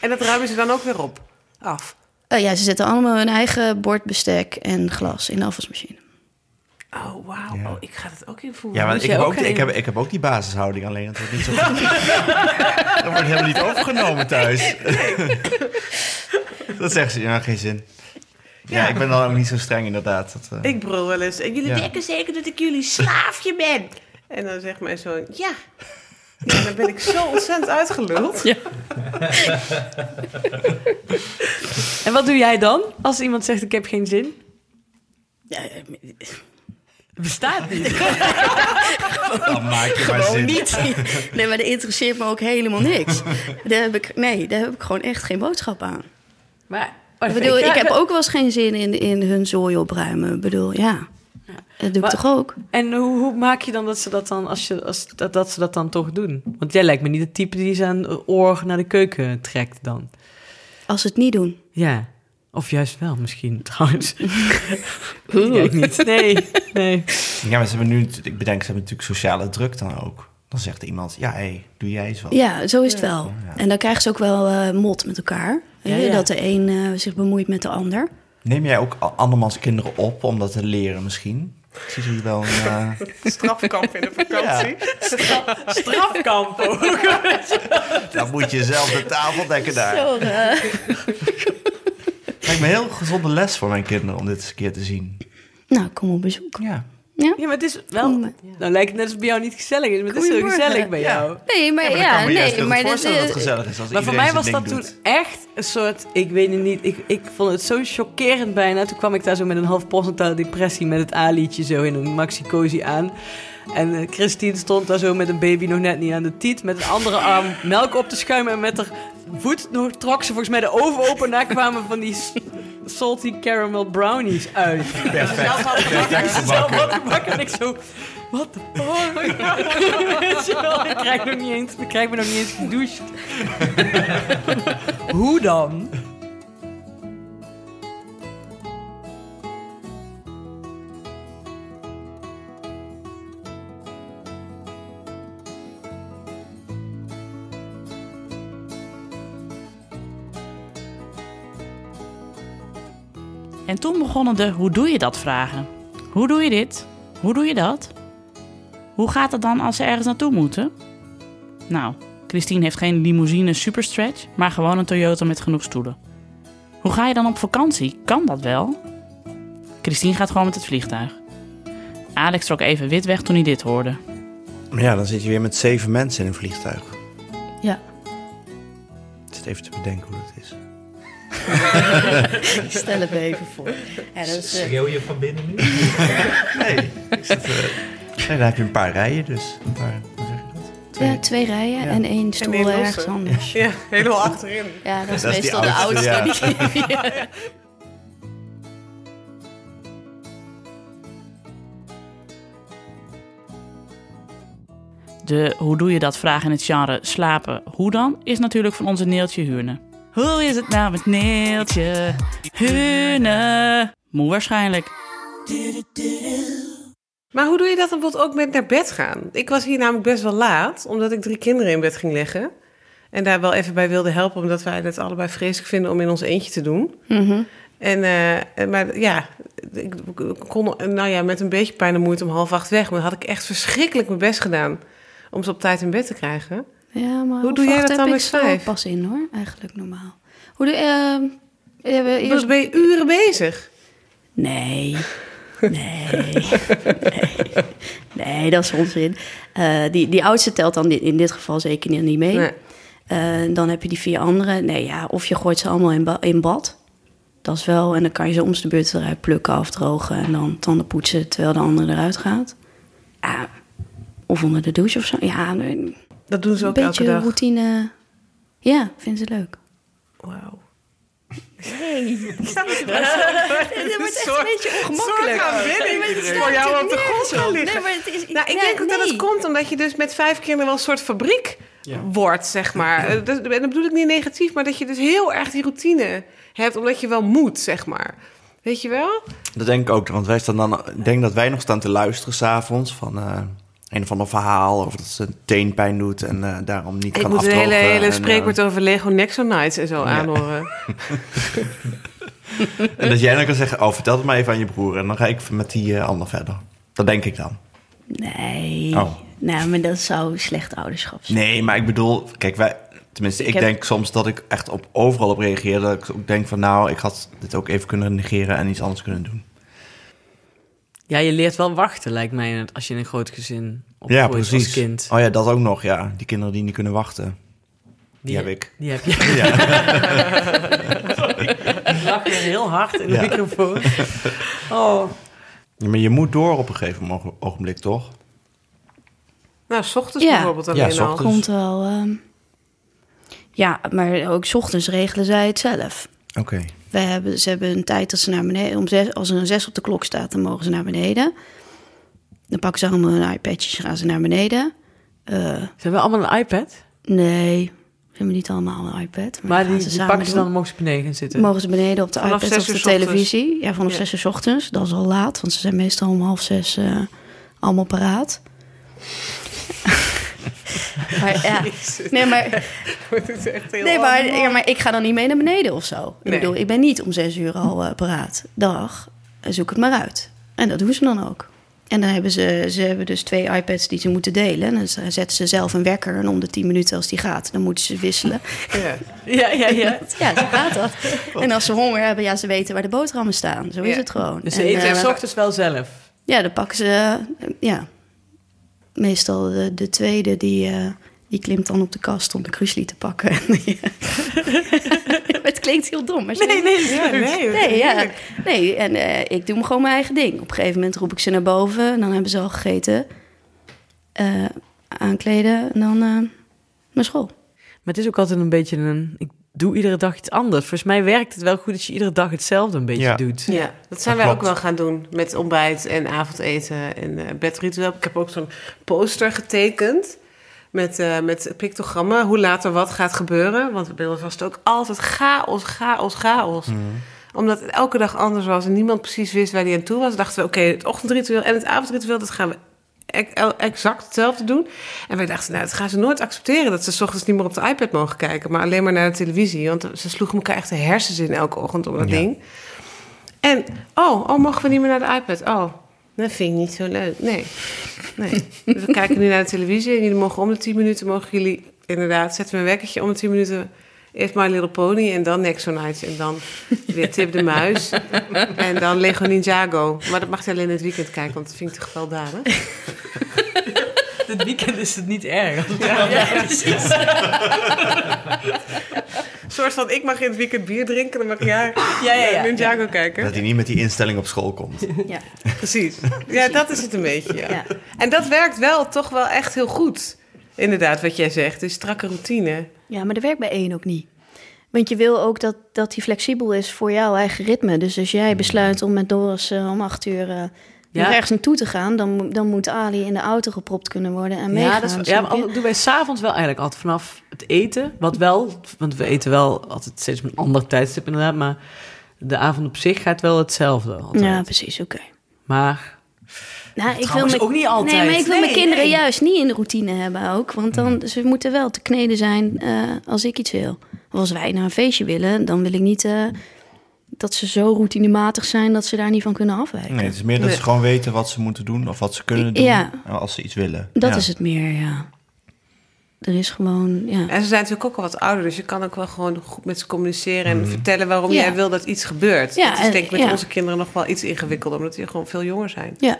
Speaker 6: En dat ruimen ze dan ook weer op. Af.
Speaker 3: Eh, ja, ze zetten allemaal hun eigen bord, bestek en glas in de afwasmachine.
Speaker 6: Oh, wauw.
Speaker 1: Ja.
Speaker 6: Oh, ik ga dat ook invoeren.
Speaker 1: Ja, maar
Speaker 6: Moet
Speaker 1: ik
Speaker 6: jij
Speaker 1: heb ook,
Speaker 6: een-
Speaker 1: ik, heb, ik heb ook die basishouding, alleen dat wordt niet zo goed. dat wordt helemaal niet overgenomen thuis. dat zeggen ze, ja, geen zin. Ja, ik ben dan ook niet zo streng inderdaad. Dat, eh,
Speaker 6: Ik brul wel eens. En jullie
Speaker 1: Ja.
Speaker 6: denken zeker dat ik jullie slaafje ben. En dan zegt mijn zoon, ja. Ja, dan ben ik zo ontzettend uitgeluld.
Speaker 2: En wat doe jij dan als iemand zegt ik heb geen zin?
Speaker 3: Ja, eh,
Speaker 2: Bestaat niet.
Speaker 1: dan maak je maar
Speaker 3: Gewoon
Speaker 1: zin.
Speaker 3: niet. Nee, maar dat interesseert me ook helemaal niks. Daar heb ik, nee, daar heb ik gewoon echt geen boodschap aan.
Speaker 2: Maar,
Speaker 3: Ik bedoel, ik heb ook wel eens geen zin in, in hun zooi opruimen. Ik bedoel, ja. Dat doe ik
Speaker 2: Maar-
Speaker 3: toch ook?
Speaker 2: En hoe, hoe maak je dan dat ze dat dan, als je, als, dat, dat ze dat dan toch doen? Want jij lijkt me niet het type die zijn oor naar de keuken trekt dan.
Speaker 3: Als ze het niet doen.
Speaker 2: Ja. Of juist wel misschien, trouwens. Kijk niet. Nee, nee.
Speaker 1: Ja, maar ze hebben nu, ik bedenk, ze hebben natuurlijk sociale druk dan ook. Dan zegt iemand, ja, hé, doe jij eens wat.
Speaker 3: Ja, zo is het wel. En dan krijgen ze ook wel eh, mot met elkaar.
Speaker 2: Ja,
Speaker 3: Hè,
Speaker 2: ja.
Speaker 3: Dat de een eh, zich bemoeit met de ander.
Speaker 1: Neem jij ook a- andermans kinderen op om dat te leren misschien? Ik zie ze wel een... eh,
Speaker 6: Strafkamp in de vakantie.
Speaker 2: Strafkamp ook.
Speaker 1: dan moet je zelf de tafel dekken daar.
Speaker 3: Zo, eh,
Speaker 1: Lijkt me een heel gezonde les voor mijn kinderen om dit eens een keer te zien.
Speaker 3: nou, kom op bezoek.
Speaker 1: Ja.
Speaker 2: Ja, maar het is wel...
Speaker 3: Mm.
Speaker 2: Nou lijkt het net als het bij jou niet gezellig is, maar het is heel
Speaker 3: Goedemorgen.
Speaker 2: gezellig bij jou.
Speaker 3: Nee, maar ja,
Speaker 1: Maar ik kan me juist
Speaker 3: nee,
Speaker 1: heel
Speaker 3: maar
Speaker 1: goed
Speaker 3: dat,
Speaker 1: voorstellen dat het
Speaker 3: is eh,
Speaker 1: gezellig is als
Speaker 2: Maar voor
Speaker 1: iedereen
Speaker 2: mij was
Speaker 1: zijn
Speaker 2: dat
Speaker 1: ding
Speaker 2: toen
Speaker 1: doet.
Speaker 2: echt een soort, ik weet het niet, ik, ik vond het zo chockerend bijna. Toen kwam ik daar zo met een half postnatale depressie met het A-liedje zo in een maxi cozy aan. En eh, Christine stond daar zo met een baby nog net niet aan de tiet, met een andere arm melk op te schuimen en met haar voet nog trok ze volgens mij de oven open. Daar kwamen van die s- salty caramel brownies uit. Dus
Speaker 1: Perfect.
Speaker 2: Zelf had ik
Speaker 1: Perfect
Speaker 2: zelf
Speaker 1: gebakken.
Speaker 2: had gebakken en ik zo, what the fuck? Weet je wel, ik krijg, nog niet eens, ik krijg me nog niet eens gedoucht. Hoe dan?
Speaker 4: En toen begonnen de hoe doe je dat vragen. Hoe doe je dit? Hoe doe je dat? Hoe gaat het dan als ze ergens naartoe moeten? Nou, Christine heeft geen limousine superstretch, maar gewoon een Toyota met genoeg stoelen. Hoe ga je dan op vakantie? Kan dat wel? Christine gaat gewoon met het vliegtuig. Alex trok even wit weg toen hij dit hoorde.
Speaker 1: Maar ja, dan zit je weer met zeven mensen in een vliegtuig.
Speaker 4: Ja.
Speaker 1: Ik zit even te bedenken hoe dat is.
Speaker 3: Stel het me even voor. Ja, dat is, eh,
Speaker 5: Schreeuw je van binnen nu?
Speaker 1: Nee, ik zit, eh, nee, dan heb je een paar rijen dus. Een paar, hoe zeg je dat? Twee.
Speaker 3: ja, twee rijen en één stoel
Speaker 6: één losse.
Speaker 3: ergens anders.
Speaker 6: Ja, helemaal achterin.
Speaker 3: Ja, dat is
Speaker 1: Dat is die
Speaker 3: meestal de
Speaker 1: oudste,
Speaker 3: oudste. die-
Speaker 4: De hoe doe je dat vraag in het genre slapen hoe dan is natuurlijk van onze Neeltje Huurne. Hoe is het nou met Neeltje Huurne? Moe waarschijnlijk.
Speaker 6: Maar hoe doe je dat dan bijvoorbeeld ook met naar bed gaan? Ik was hier namelijk best wel laat, omdat ik drie kinderen in bed ging leggen. En daar wel even bij wilde helpen, omdat wij het allebei vreselijk vinden om in ons eentje te doen.
Speaker 3: Mhm.
Speaker 6: En, eh, maar ja, ik kon nou ja, met een beetje pijn en moeite om half acht weg. Maar dan had ik echt verschrikkelijk mijn best gedaan om ze op tijd in bed te krijgen.
Speaker 3: Ja, maar
Speaker 6: Hoe doe jij
Speaker 3: vacht
Speaker 6: dat
Speaker 3: heb
Speaker 6: dan
Speaker 3: ik
Speaker 6: met
Speaker 3: zo
Speaker 6: vijf?
Speaker 3: pas in hoor, eigenlijk normaal. Hoe doe ehm, je... hebben
Speaker 6: Ik was
Speaker 3: eerst...
Speaker 6: ben je uren bezig.
Speaker 3: Nee. Nee. nee. Nee, dat is onzin. Eh, die, die oudste telt dan di- in dit geval zeker niet mee.
Speaker 6: Nee.
Speaker 3: Eh, dan heb je die vier anderen. Nee, ja, of je gooit ze allemaal in, ba- in bad. Dat is wel. En dan kan je ze om de beurt eruit plukken, afdrogen en dan tanden poetsen terwijl de andere eruit gaat. Ah, of onder de douche of zo. Ja, nee,
Speaker 6: Dat doen ze
Speaker 3: een
Speaker 6: ook elke
Speaker 3: beetje
Speaker 6: dag.
Speaker 3: routine. Ja, vinden ze leuk.
Speaker 6: Wauw.
Speaker 3: Het wordt echt
Speaker 6: Soort-
Speaker 3: een beetje
Speaker 6: soort
Speaker 3: ongemakkelijk.
Speaker 6: aan Willy.
Speaker 3: Nee, maar het slaat
Speaker 6: Voor jou
Speaker 3: natuurlijk
Speaker 6: op de grond
Speaker 3: nergens
Speaker 6: gaan
Speaker 3: op.
Speaker 6: liggen.
Speaker 3: Nee, maar het is,
Speaker 6: Nou, ik
Speaker 3: ja,
Speaker 6: denk ook dat
Speaker 3: nee.
Speaker 6: het komt omdat je dus met vijf kinderen wel een soort fabriek wordt, zeg maar. Eh, dat- en dat bedoel ik niet negatief, maar dat je dus heel erg die routine hebt, omdat je wel moet, zeg maar. Weet je wel?
Speaker 1: Dat denk ik ook, want wij staan dan, ik denk dat wij nog staan te luisteren s'avonds van eh, een of ander verhaal of dat ze een teenpijn doet en eh, daarom niet
Speaker 6: ik
Speaker 1: kan
Speaker 6: moet een
Speaker 1: afdrogen.
Speaker 6: hele, hele
Speaker 1: en, eh,
Speaker 6: spreekwoord over Lego Nexonites en zo aanhoren.
Speaker 1: en dat jij dan kan zeggen, oh vertel het maar even aan je broer en dan ga ik met die eh, ander verder. Dat denk ik dan.
Speaker 3: Nee.
Speaker 1: Oh.
Speaker 3: Nou, maar dat zou slecht ouderschap zijn.
Speaker 1: Nee, maar ik bedoel, kijk, wij, tenminste, ik,
Speaker 3: heb-
Speaker 1: denk soms dat ik echt op overal op reageer. Dat ik ook denk van, nou, ik had dit ook even kunnen negeren en iets anders kunnen doen.
Speaker 2: Ja, je leert wel wachten, lijkt mij, als je in een groot gezin opgroeit als kind.
Speaker 1: Oh ja, dat ook nog, ja. Die kinderen die niet kunnen wachten. Die heb ik.
Speaker 2: Die heb je.
Speaker 1: Ja.
Speaker 2: Ik lach weer heel hard in de
Speaker 1: Ja.
Speaker 2: microfoon. Oh.
Speaker 1: Ja, maar je moet door op een gegeven mo- ogenblik, toch?
Speaker 6: Nou, s ochtends
Speaker 3: Ja.
Speaker 6: bijvoorbeeld alleen
Speaker 1: s ochtends.
Speaker 6: al.
Speaker 3: Komt wel. ehm, Ja, maar ook 's ochtends regelen zij het zelf.
Speaker 1: Oké.
Speaker 3: Wij hebben, ze hebben een tijd dat ze naar beneden... Om zes, als er een zes op de klok staat, dan mogen ze naar beneden. Dan pakken ze allemaal hun iPadjes, gaan ze naar beneden. Eh,
Speaker 2: Ze hebben allemaal een iPad,
Speaker 3: nee, ze hebben niet allemaal een iPad. Maar,
Speaker 2: maar
Speaker 3: dat gaan
Speaker 2: die,
Speaker 3: ze
Speaker 2: die
Speaker 3: samen
Speaker 2: pakken ze
Speaker 3: doen.
Speaker 2: dan en mogen ze beneden gaan zitten.
Speaker 3: Mogen ze beneden op de
Speaker 6: Vanaf
Speaker 3: iPad
Speaker 6: zes
Speaker 3: of de
Speaker 6: uur 's ochtends.
Speaker 3: televisie? Ja, vanaf
Speaker 6: Ja.
Speaker 3: zes uur 's ochtends. Dat is al laat, want ze zijn meestal om half zes eh, allemaal paraat. maar ja, nee, maar,
Speaker 6: Het is echt heel
Speaker 3: nee maar,
Speaker 6: allemaal.
Speaker 3: ja, maar ik ga dan niet mee naar beneden of zo. Ik
Speaker 6: Nee.
Speaker 3: bedoel, ik ben niet om zes uur al eh, paraat. Dag, eh, zoek het maar uit. En dat doen ze dan ook. En dan hebben ze, ze hebben dus twee iPads die ze moeten delen. En dan zetten ze zelf een wekker. En om de tien minuten als die gaat, dan moeten ze wisselen.
Speaker 6: Ja.
Speaker 2: Ja, ja, ja.
Speaker 3: Ja, zo gaat dat. En als ze honger hebben, ja, ze weten waar de boterhammen staan. Zo is
Speaker 6: Ja.
Speaker 3: het gewoon.
Speaker 2: Dus ze
Speaker 3: En,
Speaker 2: eten
Speaker 3: eh,
Speaker 2: s ochtends wel zelf.
Speaker 3: ja, dan pakken ze, eh, ja, meestal de, de tweede, die, eh, die klimt dan op de kast om de krusli te pakken. het klinkt heel dom, maar zo is het.
Speaker 2: nee.
Speaker 6: Ja, nee,
Speaker 3: Nee, ja.
Speaker 6: heerlijk.
Speaker 3: nee en eh, ik doe me gewoon mijn eigen ding. Op een gegeven moment roep ik ze naar boven. En dan hebben ze al gegeten. Eh, aankleden en dan eh, naar school.
Speaker 2: Maar het is ook altijd een beetje een... Ik doe iedere dag iets anders. Volgens mij werkt het wel goed dat je iedere dag hetzelfde een beetje
Speaker 1: Ja.
Speaker 2: doet.
Speaker 6: Ja, dat zijn
Speaker 1: Dat
Speaker 6: wij ook
Speaker 1: klopt.
Speaker 6: wel gaan doen met ontbijt en avondeten en eh, bedritueel. Ik heb ook zo'n poster getekend met, eh, met pictogrammen, hoe later wat gaat gebeuren. Want bij ons was het ook altijd chaos, chaos, chaos.
Speaker 1: Mhm.
Speaker 6: Omdat het elke dag anders was en niemand precies wist waar die aan toe was, dachten we: oké, het ochtendritueel en het avondritueel, dat gaan we ec- el- exact hetzelfde doen. En wij dachten: nou, dat gaan ze nooit accepteren dat ze 's ochtends niet meer op de iPad mogen kijken, maar alleen maar naar de televisie. Want ze sloegen elkaar echt de hersens in elke ochtend om dat
Speaker 1: Ja.
Speaker 6: ding. En, oh, oh, mogen we niet meer naar de iPad? Oh, dat vind ik niet zo leuk. Nee, nee. Dus we kijken nu naar de televisie en jullie mogen om de 10 minuten... mogen jullie, inderdaad, zetten we een wekkertje om de 10 minuten... Eerst My Little Pony en dan Nexonites. En dan weer Tip de Muis. en dan Lego Ninjago. Maar dat mag je alleen in het weekend kijken, want dat vind ik te gewelddadig.
Speaker 2: Dit weekend is het niet erg.
Speaker 6: soort van, ik mag in het weekend bier drinken, dan mag jij eh,
Speaker 2: Ja, ja, ja.
Speaker 6: Ninjago kijken.
Speaker 1: Dat hij niet met die instelling op school komt.
Speaker 3: Ja.
Speaker 6: Precies. Ja, dat is het een beetje. Ja.
Speaker 3: Ja.
Speaker 6: En dat werkt wel toch wel echt heel goed. Inderdaad, wat jij zegt. Dus strakke routine.
Speaker 3: ja, maar dat werkt bij één ook niet. Want je wil ook dat, dat die flexibel is voor jouw eigen ritme. Dus als jij besluit om met Doris eh, om acht uur eh, nog ergens naartoe te gaan... Dan, mo- dan moet Ali in de auto gepropt kunnen worden en meegaan.
Speaker 2: Ja, dat is, ja, maar
Speaker 3: snap je?
Speaker 2: al- doen wij s'avonds wel eigenlijk altijd vanaf het eten. Wat wel, want we eten wel altijd steeds op een ander tijdstip inderdaad. Maar de avond op zich gaat wel hetzelfde altijd.
Speaker 3: ja precies, oké.
Speaker 2: Maar
Speaker 3: Nou, ik wil
Speaker 2: Trouwens
Speaker 3: mijn,
Speaker 2: ook niet altijd.
Speaker 3: Nee, maar ik wil
Speaker 2: Nee,
Speaker 3: mijn kinderen
Speaker 2: nee. Hmm.
Speaker 3: juist niet in de routine hebben ook. Want dan, ze moeten wel te kneden zijn eh, als ik iets wil. Of als wij naar een feestje willen, dan wil ik niet eh, dat ze zo routinematig zijn dat ze daar niet van kunnen afwijken.
Speaker 1: Nee, het is meer dat ze
Speaker 6: Nee.
Speaker 1: gewoon weten wat ze moeten doen of wat ze kunnen doen eh,
Speaker 3: Ja.
Speaker 1: als ze iets willen.
Speaker 3: Dat
Speaker 1: Ja.
Speaker 3: is het meer, ja. Er is gewoon, ja.
Speaker 6: En ze zijn natuurlijk ook al wat ouder, dus je kan ook wel gewoon goed met ze communiceren en vertellen waarom
Speaker 3: Ja.
Speaker 6: jij wil dat iets gebeurt.
Speaker 3: Ja,
Speaker 6: dat is
Speaker 3: en-
Speaker 6: denk ik met
Speaker 3: ja.
Speaker 6: onze kinderen nog wel iets ingewikkelder, omdat die gewoon veel jonger zijn.
Speaker 3: Ja.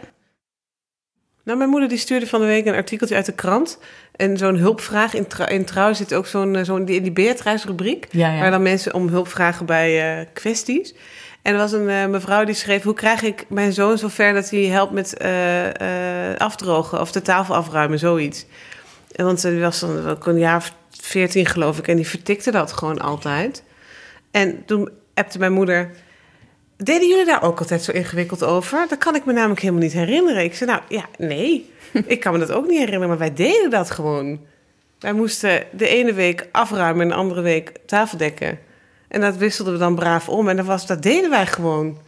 Speaker 6: Nou, mijn moeder die stuurde van de week een artikeltje uit de krant. En zo'n hulpvraag. In, trouw- in trouw zit ook zo'n, eh, zo'n die- in die Beatrice-rubriek.
Speaker 2: Ja, ja.
Speaker 6: Waar dan mensen om hulp vragen bij eh, kwesties. En er was een eh, mevrouw die schreef... hoe krijg ik mijn zoon zover dat hij helpt met eh, eh, afdrogen... of de tafel afruimen, zoiets. En want ze was dan ook een jaar of veertien, geloof ik. En die vertikte dat gewoon altijd. En toen appte mijn moeder... Deden jullie daar ook altijd zo ingewikkeld over? Dat kan ik me namelijk helemaal niet herinneren. Ik zei, nou ja, nee. Ik kan me dat ook niet herinneren, maar wij deden dat gewoon. Wij moesten de ene week afruimen en de andere week tafeldekken. En dat wisselden we dan braaf om. En dat, was, dat deden wij gewoon.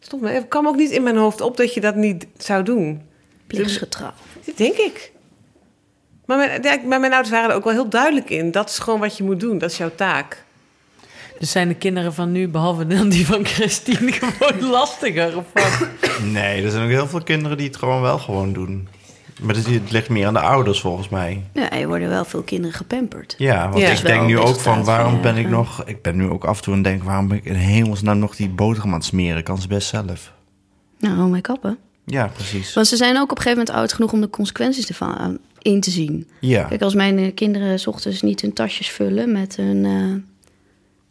Speaker 6: Stond me, het kwam ook niet in mijn hoofd op dat je dat niet zou doen.
Speaker 3: Plichtsgetrouw.
Speaker 6: Dat denk ik. Maar mijn, ja, maar mijn ouders waren er ook wel heel duidelijk in. Dat is gewoon wat je moet doen. Dat is jouw taak.
Speaker 2: dus zijn de kinderen van nu, behalve dan die van Christine, gewoon lastiger? Of wat?
Speaker 1: Nee, er zijn ook heel veel kinderen die het gewoon wel gewoon doen. Maar het, het ligt meer aan de ouders volgens mij.
Speaker 3: Ja, er worden wel veel kinderen gepamperd.
Speaker 1: Ja, want
Speaker 6: Ja.
Speaker 1: ik denk
Speaker 3: Wel,
Speaker 1: nu
Speaker 3: best
Speaker 1: ook van
Speaker 3: staat,
Speaker 1: waarom
Speaker 3: ja.
Speaker 1: ben ik nog... Ik ben nu ook af en toe en denk waarom ben ik in hemelsnaam nog die boterham aan het smeren? Kan ze best zelf.
Speaker 3: Nou, hou mij kappen.
Speaker 1: Ja, precies.
Speaker 3: Want ze zijn ook op een gegeven moment oud genoeg om de consequenties ervan aan- in te zien.
Speaker 1: Ja,
Speaker 3: Kijk, als mijn eh, kinderen 's ochtends niet hun tasjes vullen met hun, eh,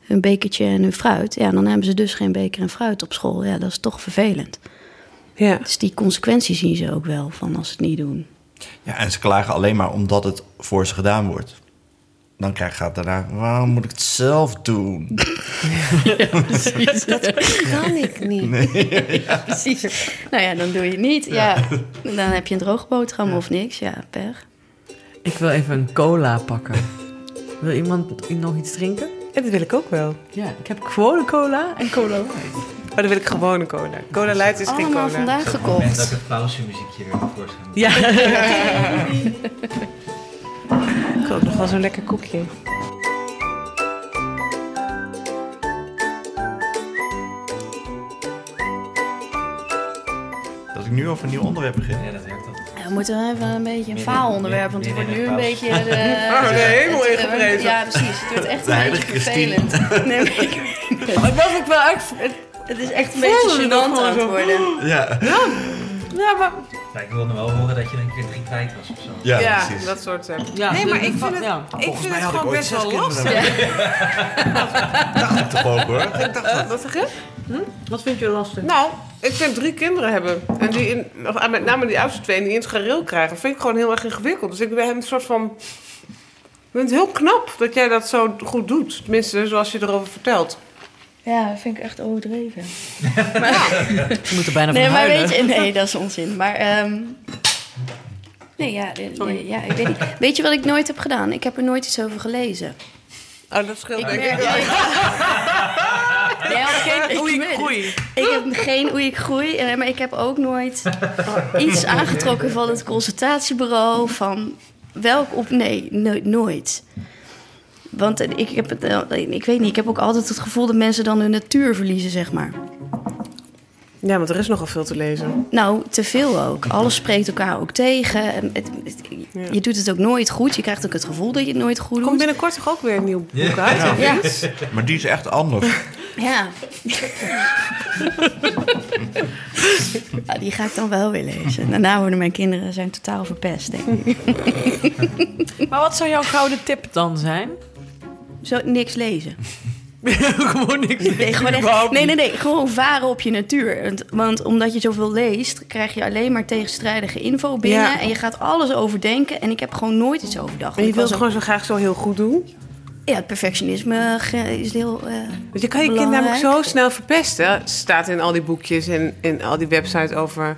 Speaker 3: hun bekertje en hun fruit, ja, dan hebben ze dus geen beker en fruit op school. Ja, dat is toch vervelend.
Speaker 6: Ja.
Speaker 3: Dus die consequenties zien ze ook wel van als ze het niet doen.
Speaker 1: ja en ze klagen alleen maar omdat het voor ze gedaan wordt. Dan krijg je daarna, waarom moet ik het zelf doen?
Speaker 3: Kan ik niet. Precies. Nou ja, dan doe je het niet. Ja. Dan heb je een droge boterham of niks. Ja, per.
Speaker 2: Ik wil even een cola pakken. Wil iemand nog iets drinken?
Speaker 6: En dat wil ik ook wel.
Speaker 2: Ja, ik heb gewone cola en cola light.
Speaker 6: Maar dan wil ik gewoon een cola. Cola light is geen
Speaker 3: Allemaal
Speaker 6: cola.
Speaker 3: vandaag
Speaker 5: Moment dat
Speaker 3: gekocht.
Speaker 5: ik het pauzemuziekje weer voorschijn.
Speaker 2: Ja.
Speaker 6: Ik koop nog wel zo'n lekker koekje.
Speaker 1: Dat ik nu over een nieuw onderwerp begin.
Speaker 5: Ja, dat werkt altijd.
Speaker 3: Ja, we moeten wel even een beetje een
Speaker 5: nee,
Speaker 3: faalonderwerp, want het
Speaker 5: nee,
Speaker 3: wordt
Speaker 5: nee,
Speaker 3: nu een
Speaker 5: pauze.
Speaker 3: beetje... Oh, De,
Speaker 6: Ah, de hemel
Speaker 3: het-
Speaker 6: ingeprezen.
Speaker 3: Ja, precies. Het wordt echt
Speaker 1: De
Speaker 3: een beetje
Speaker 1: heilige Christine.
Speaker 3: vervelend. Nee, maar ik weet het.
Speaker 2: Dat was ik wel echt...
Speaker 3: Het is echt een beetje gênant aan het worden.
Speaker 1: Ja,
Speaker 2: Ja, maar...
Speaker 5: Maar ik wilde wel horen dat je een keer drie kwijt was of zo.
Speaker 1: ja,
Speaker 6: Ja,
Speaker 1: precies.
Speaker 6: dat soort zaken.
Speaker 2: Ja,
Speaker 6: Nee, maar
Speaker 2: dat-
Speaker 6: ik vind het-
Speaker 2: ja.
Speaker 6: Ik vind het
Speaker 1: had ik
Speaker 6: gewoon
Speaker 1: ooit
Speaker 6: best
Speaker 1: zes
Speaker 6: wel
Speaker 1: kinderen.
Speaker 6: lastig.
Speaker 1: dacht ik toch ook hoor.
Speaker 6: Wat zeg je?
Speaker 2: Wat vind je lastig?
Speaker 6: Nou, ik vind drie kinderen hebben. En die in, of, met name die oudste twee, en die in het gareel krijgen. vind ik gewoon heel erg ingewikkeld. Dus ik ben een soort van... Ik vind het heel knap dat jij dat zo goed doet. Tenminste, zoals je erover vertelt.
Speaker 3: Ja, dat vind ik echt overdreven.
Speaker 2: Je moet er bijna
Speaker 3: Nee,
Speaker 2: van
Speaker 3: maar
Speaker 2: huilen.
Speaker 3: weet je... Nee, dat is onzin. Maar... ehm, nee, ja, eh, nee, ja, ik weet niet. Weet je wat ik nooit heb gedaan? Ik heb er nooit iets over gelezen.
Speaker 6: Oh, dat scheelt
Speaker 3: Ik
Speaker 6: denk
Speaker 3: merk...
Speaker 6: ik.
Speaker 3: Nee, geen
Speaker 2: Oei, groei.
Speaker 3: Ik heb geen hoe ik groei, eh, maar ik heb ook nooit iets aangetrokken van het consultatiebureau. Van welk op. Nee, no- nooit. Want eh, ik heb het. eh, Ik weet niet, ik heb ook altijd het gevoel dat mensen dan hun natuur verliezen, zeg maar.
Speaker 6: Ja, want er is nogal veel te lezen.
Speaker 3: Nou, te veel ook. Alles spreekt elkaar ook tegen. En het- het- Je doet het ook nooit goed. Je krijgt ook het gevoel dat je het nooit goed
Speaker 6: Er
Speaker 3: doet.
Speaker 6: komt binnenkort toch ook weer een nieuw boek uit?
Speaker 1: Ja.
Speaker 6: of
Speaker 3: Ja.
Speaker 6: iets?
Speaker 1: Maar die is echt anders.
Speaker 3: Ja. Ja, Ah, die ga ik dan wel weer lezen. Daarna worden mijn kinderen zijn totaal verpest, denk ik.
Speaker 2: Maar wat zou jouw gouden tip dan zijn?
Speaker 3: Zo, niks lezen.
Speaker 2: Gewoon niks.
Speaker 3: Nee, gewoon echt, nee, nee, nee. Gewoon varen op je natuur. Want, want omdat je zoveel leest, krijg je alleen maar tegenstrijdige info binnen.
Speaker 6: Ja.
Speaker 3: En je gaat alles overdenken. En ik heb gewoon nooit iets overdacht.
Speaker 6: En je
Speaker 3: Ik was
Speaker 6: wilt het gewoon zo graag zo heel goed doen.
Speaker 3: ook- Ja, het perfectionisme ge- is heel... eh,
Speaker 6: Want je kan je kind
Speaker 3: Belangrijk.
Speaker 6: namelijk zo snel verpesten. Staat in al die boekjes en in al die websites over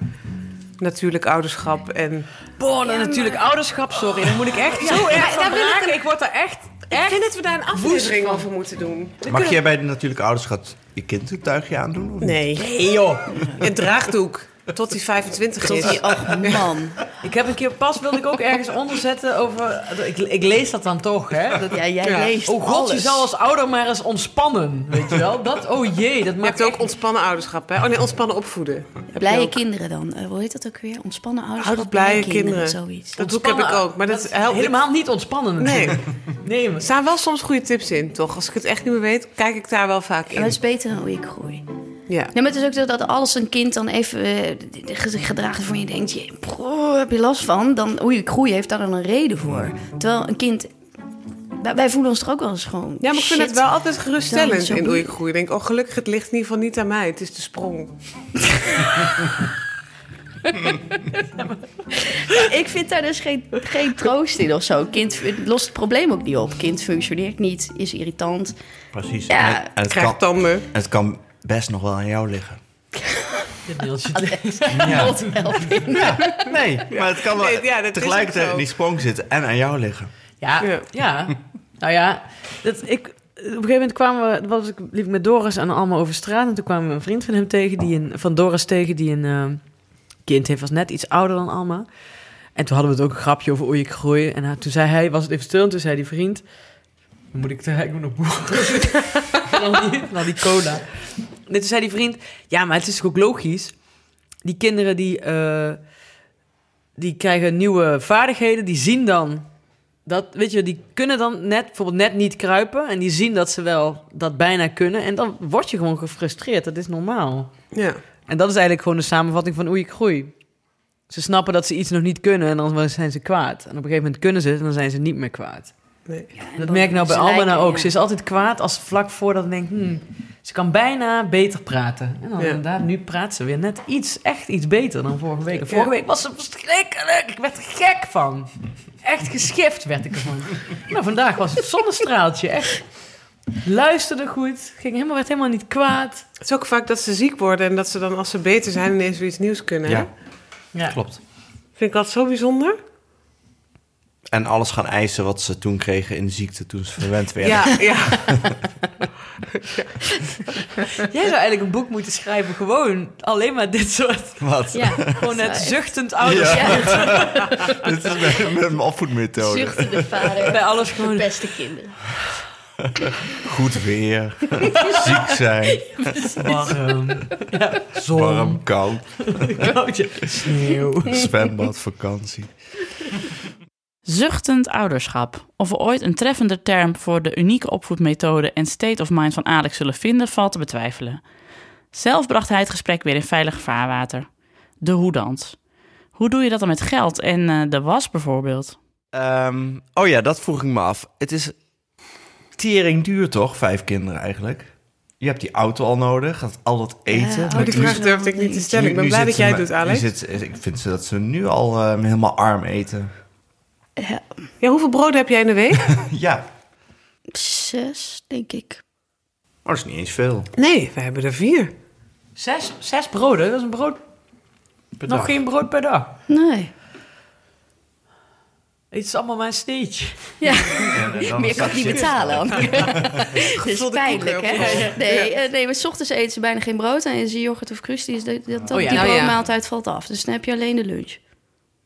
Speaker 6: natuurlijk ouderschap. En
Speaker 2: Boah, nou, natuurlijk ouderschap, sorry. Dan moet ik echt zo erg van raken. Ik word er echt...
Speaker 6: ik vind dat we daar een aflevering over moeten doen.
Speaker 1: Mag jij bij de natuurlijke ouderschap je kind een tuigje aandoen? Of niet?
Speaker 6: Nee. Nee, joh. Een draagdoek. Tot die 25
Speaker 3: tot
Speaker 6: is.
Speaker 3: die, oh man.
Speaker 2: Ik heb een keer pas, wilde ik ook ergens onderzetten over... Ik, ik lees dat dan toch, hè? Dat-
Speaker 3: Ja, jij leest
Speaker 2: oh god, je
Speaker 3: alles.
Speaker 2: zal als ouder maar eens ontspannen, weet je wel? Dat, oh jee, dat
Speaker 6: Je
Speaker 2: maakt
Speaker 6: hebt ook ontspannen ouderschap, hè? Oh nee, ontspannen opvoeden. Heb je
Speaker 3: Blije
Speaker 6: ook.
Speaker 3: kinderen dan. Eh, hoe heet dat ook weer? Ontspannen ouders.
Speaker 6: Ouders, blije kinderen.
Speaker 3: Zoiets.
Speaker 6: Dat boek heb ik ook, maar dat helpt niet.
Speaker 2: helemaal niet ontspannen
Speaker 6: Nee,
Speaker 2: natuurlijk.
Speaker 6: er
Speaker 2: Nee, maar-
Speaker 6: staan wel soms goede tips in, toch? Als ik het echt niet meer weet, kijk ik daar wel vaak
Speaker 3: Maar dat
Speaker 6: in.
Speaker 3: is beter dan hoe ik groei.
Speaker 6: Ja.
Speaker 3: Ja, maar het is ook zo dat als een kind dan even eh, zich gedraagt waarvan je denkt... Je, bro, heb je last van? Dan, oei, ik groei heeft daar dan een reden voor. Terwijl een kind... Wij, wij voelen ons toch ook wel eens gewoon...
Speaker 6: Ja, maar ik vind
Speaker 3: shit.
Speaker 6: het wel altijd
Speaker 3: Dan
Speaker 6: geruststellend
Speaker 3: zo
Speaker 6: in hoe ik
Speaker 3: boe-
Speaker 6: groei. Ik denk, oh gelukkig, het ligt in ieder geval niet aan mij. Het is de sprong.
Speaker 3: Ik vind daar dus geen, geen troost in of zo. Kind lost het probleem ook niet op. Kind functioneert niet, is irritant.
Speaker 1: Precies.
Speaker 3: Ja,
Speaker 1: en, en het
Speaker 6: Krijg
Speaker 1: kan,
Speaker 6: tanden.
Speaker 1: en het kan best nog wel aan jou liggen.
Speaker 2: dit deeltje.
Speaker 1: Ja.
Speaker 3: God help.
Speaker 1: Nee, maar het kan wel
Speaker 6: Nee, ja, dat is ook
Speaker 1: tegelijkertijd
Speaker 6: zo.
Speaker 1: in die sprong zitten en aan jou liggen.
Speaker 2: Ja, ja.
Speaker 6: Ja.
Speaker 2: Nou ja, dat, ik, op een gegeven moment kwamen we, was ik, liep ik met Doris en allemaal over straat. En toen kwamen we een vriend van hem tegen, die een, van Doris tegen, die een eh, kind heeft, was net iets ouder dan Alma. En toen hadden we het ook een grapje over oei, ik groei. En haar- toen zei hij, was het even stil, en toen zei die vriend... "Dan Moet ik er eigenlijk nog boeren? van, al die- van al die cola. En toen zei die vriend, ja, maar het is toch ook logisch. Die kinderen die, eh, die krijgen nieuwe vaardigheden, die zien dan dat, weet je, die kunnen dan net, bijvoorbeeld net niet kruipen. En die zien dat ze wel dat bijna kunnen. En dan word je gewoon gefrustreerd. Dat is normaal.
Speaker 6: Ja.
Speaker 2: En dat is eigenlijk gewoon de samenvatting van oei, ik groei. Ze snappen dat ze iets nog niet kunnen en dan zijn ze kwaad. En op een gegeven moment kunnen ze het en dan zijn ze niet meer kwaad.
Speaker 6: Nee.
Speaker 2: Dat merk ik nou bij
Speaker 3: Ze
Speaker 2: Alma
Speaker 3: lijken,
Speaker 2: nou ook.
Speaker 3: ja.
Speaker 2: Ze is altijd kwaad als vlak voordat ik denk, hmm, ze kan bijna beter praten. En dan
Speaker 6: Ja.
Speaker 2: inderdaad, nu praat ze weer net iets, echt iets beter dan vorige week. En
Speaker 6: Ja.
Speaker 2: vorige week was ze verschrikkelijk. Ik werd er gek van. Echt geschift werd ik ervan. nou, vandaag was het zonnestraaltje. Echt. Luisterde goed. Ging helemaal, werd helemaal niet kwaad.
Speaker 6: Het is ook vaak dat ze ziek worden en dat ze dan als ze beter zijn ineens weer iets nieuws kunnen. hè?
Speaker 1: Ja.
Speaker 2: Ja.
Speaker 1: Klopt.
Speaker 6: Vind ik dat zo bijzonder?
Speaker 1: En alles gaan eisen wat ze toen kregen in de ziekte toen ze verwend werden.
Speaker 6: ja. ja.
Speaker 2: Jij zou eigenlijk een boek moeten schrijven. Gewoon alleen maar dit soort.
Speaker 1: Wat?
Speaker 3: Ja,
Speaker 2: Gewoon net
Speaker 3: Zo,
Speaker 2: zuchtend ouders.
Speaker 3: Ja,
Speaker 1: Dit is met, met mijn opvoedmethode.
Speaker 3: zuchtende vader.
Speaker 2: Bij alles gewoon.
Speaker 3: Beste kinderen.
Speaker 1: Goed weer, ziek zijn,
Speaker 2: Warm. Ja, zon.
Speaker 1: warm, koud,
Speaker 2: Koudje. Sneeuw.
Speaker 1: zwembad, vakantie.
Speaker 4: Zuchtend ouderschap. Of we ooit een treffender term voor de unieke opvoedmethode en state of mind van Alex zullen vinden, valt te betwijfelen. Zelf bracht hij het gesprek weer in veilig vaarwater. De hoedans. Hoe doe je dat dan met geld en eh, de was bijvoorbeeld?
Speaker 1: Ehm, oh ja, dat vroeg ik me af. Het is tering duur toch, vijf kinderen eigenlijk? Je hebt die auto al nodig, gaat al dat eten.
Speaker 3: Ja, oh,
Speaker 6: Oh,
Speaker 1: Maar
Speaker 6: die
Speaker 1: nu-
Speaker 6: vraag durfde ik niet te stellen. Ik ben
Speaker 1: nu
Speaker 6: blij
Speaker 1: zit
Speaker 6: dat
Speaker 1: ze
Speaker 6: jij het
Speaker 1: me-
Speaker 6: doet, Alex.
Speaker 1: nu zit- ik vind ze dat ze nu al ehm, helemaal arm eten.
Speaker 3: Ja,
Speaker 6: Ja, hoeveel broden heb jij in de week?
Speaker 1: ja,
Speaker 3: zes, denk ik.
Speaker 1: maar Oh, dat is niet eens veel.
Speaker 6: Nee, we hebben er vier.
Speaker 2: Zes, zes broden, dat is een brood.
Speaker 1: per
Speaker 2: nog
Speaker 1: dag.
Speaker 2: geen brood per dag.
Speaker 3: Nee.
Speaker 2: Het is allemaal mijn sneetje.
Speaker 1: En, eh, dan
Speaker 3: Meer
Speaker 1: is
Speaker 3: kan ik
Speaker 1: dat
Speaker 3: niet
Speaker 1: zin.
Speaker 3: betalen. dat is pijnlijk,
Speaker 6: koeken
Speaker 3: hè? Nee, eh, nee, maar 's ochtends eten ze bijna geen brood. En is die yoghurt of crust, die, is dat, dat, dat-
Speaker 2: Oh ja.
Speaker 3: die
Speaker 6: Nou ja.
Speaker 3: broodmaaltijd valt af. Dus dan heb je alleen de lunch.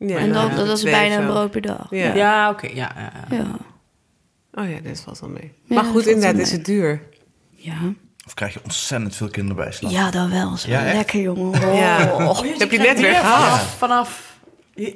Speaker 6: Ja,
Speaker 3: en dan,
Speaker 6: ja,
Speaker 3: dat is
Speaker 6: twee
Speaker 3: bijna
Speaker 6: of
Speaker 3: een
Speaker 6: zo.
Speaker 3: brood per dag.
Speaker 6: Ja.
Speaker 2: Ja, oké. ja, ja, ja.
Speaker 3: Ja.
Speaker 6: Oh ja, dit valt wel mee.
Speaker 3: Ja,
Speaker 6: maar
Speaker 3: dat
Speaker 6: goed,
Speaker 3: valt
Speaker 6: inderdaad
Speaker 3: wel
Speaker 6: is
Speaker 3: mee.
Speaker 6: het duur.
Speaker 3: ja.
Speaker 1: Of krijg je ontzettend veel kinderbijslag?
Speaker 3: Ja, dan wel. Zo.
Speaker 1: Ja, echt?
Speaker 3: Lekker, jongen. Oh.
Speaker 6: Ja. Dat heb je net weer gehad.
Speaker 2: Vanaf, vanaf-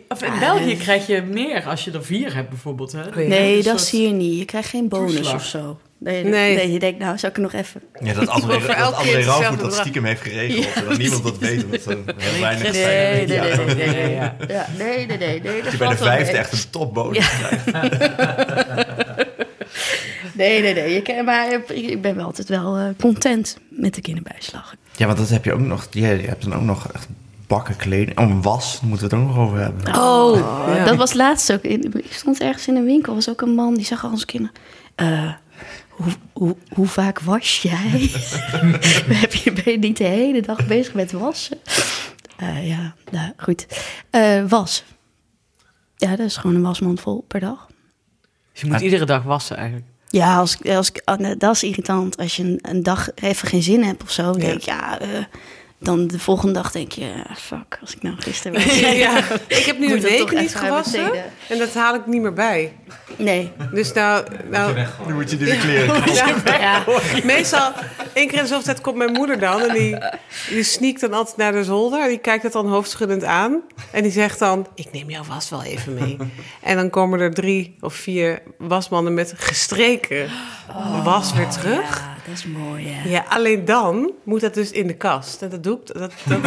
Speaker 2: of in
Speaker 3: Ja,
Speaker 2: België
Speaker 3: en-
Speaker 2: krijg je meer als je er vier hebt bijvoorbeeld. Hè?
Speaker 6: ja.
Speaker 3: Nee,
Speaker 2: Een
Speaker 3: dat
Speaker 2: soort-
Speaker 3: zie je niet. Je krijgt geen bonus
Speaker 2: Toeslag.
Speaker 3: of zo. Nee,
Speaker 6: Nee.
Speaker 3: nee. je denkt, nou, zou ik er nog even...
Speaker 1: Ja, dat André,
Speaker 6: Voor elk
Speaker 1: dat André
Speaker 6: kind
Speaker 1: Rauwvoet
Speaker 6: hetzelfde
Speaker 1: dat stiekem heeft geregeld. en dat niemand dat weet. omdat er heel weinig
Speaker 2: Christus.
Speaker 1: zijn.
Speaker 2: Nee, nee, nee, nee, nee, nee,
Speaker 3: Ja,
Speaker 2: ja.
Speaker 3: nee, nee, nee, nee.
Speaker 1: Dat
Speaker 3: dat
Speaker 1: je bij de
Speaker 3: valt wel
Speaker 1: vijfde
Speaker 3: mee.
Speaker 1: echt een topbonus krijgt.
Speaker 3: Nee, nee, nee. Ik, maar ik ben wel altijd wel eh, content met de kinderbijslag.
Speaker 1: Ja, want dat heb je ook nog. Je hebt dan ook nog echt bakken kleding. Oh, een was, daar moeten we het ook nog over hebben.
Speaker 3: Oh,
Speaker 6: ja.
Speaker 3: dat was laatst ook. In- Ik stond ergens in een winkel, was ook een man die zag al onze kinderen. Eh, hoe, hoe, hoe vaak was jij? Heb je, ben je niet de hele dag bezig met wassen? Eh, ja, nou, goed. Eh, was. Ja, dat is gewoon een wasmand vol per dag.
Speaker 2: Dus je moet iedere dag wassen eigenlijk.
Speaker 3: Ja, als, ik- als, ik- ah, nee, dat is irritant. Als je een, een dag even geen zin hebt of zo, dan denk ik, ja, eh, dan de volgende dag denk je, ah, fuck, als ik nou gisteren was.
Speaker 6: Ja. Ik heb nu
Speaker 3: Moet
Speaker 6: een
Speaker 3: het toch
Speaker 6: week
Speaker 3: echt
Speaker 6: niet
Speaker 3: gaan
Speaker 6: gewassen.
Speaker 3: besteden.
Speaker 6: En dat haal ik niet meer bij.
Speaker 3: Nee,
Speaker 6: Dus nou...
Speaker 5: je
Speaker 6: nou
Speaker 5: weggooien.
Speaker 1: moet je nu de kleren
Speaker 6: ja.
Speaker 3: ja,
Speaker 6: Meestal, één keer in de zoveel tijd komt mijn moeder dan. En die, die sneakt dan altijd naar de zolder. En die kijkt het dan hoofdschuddend aan. En die zegt dan, ik neem jou was wel even mee. En dan komen er drie of vier wasmannen met gestreken was weer terug.
Speaker 3: Oh, Ja, dat is mooi, ja.
Speaker 6: Ja, alleen dan moet dat dus in de kast. En dat doe ik... Dat, dat,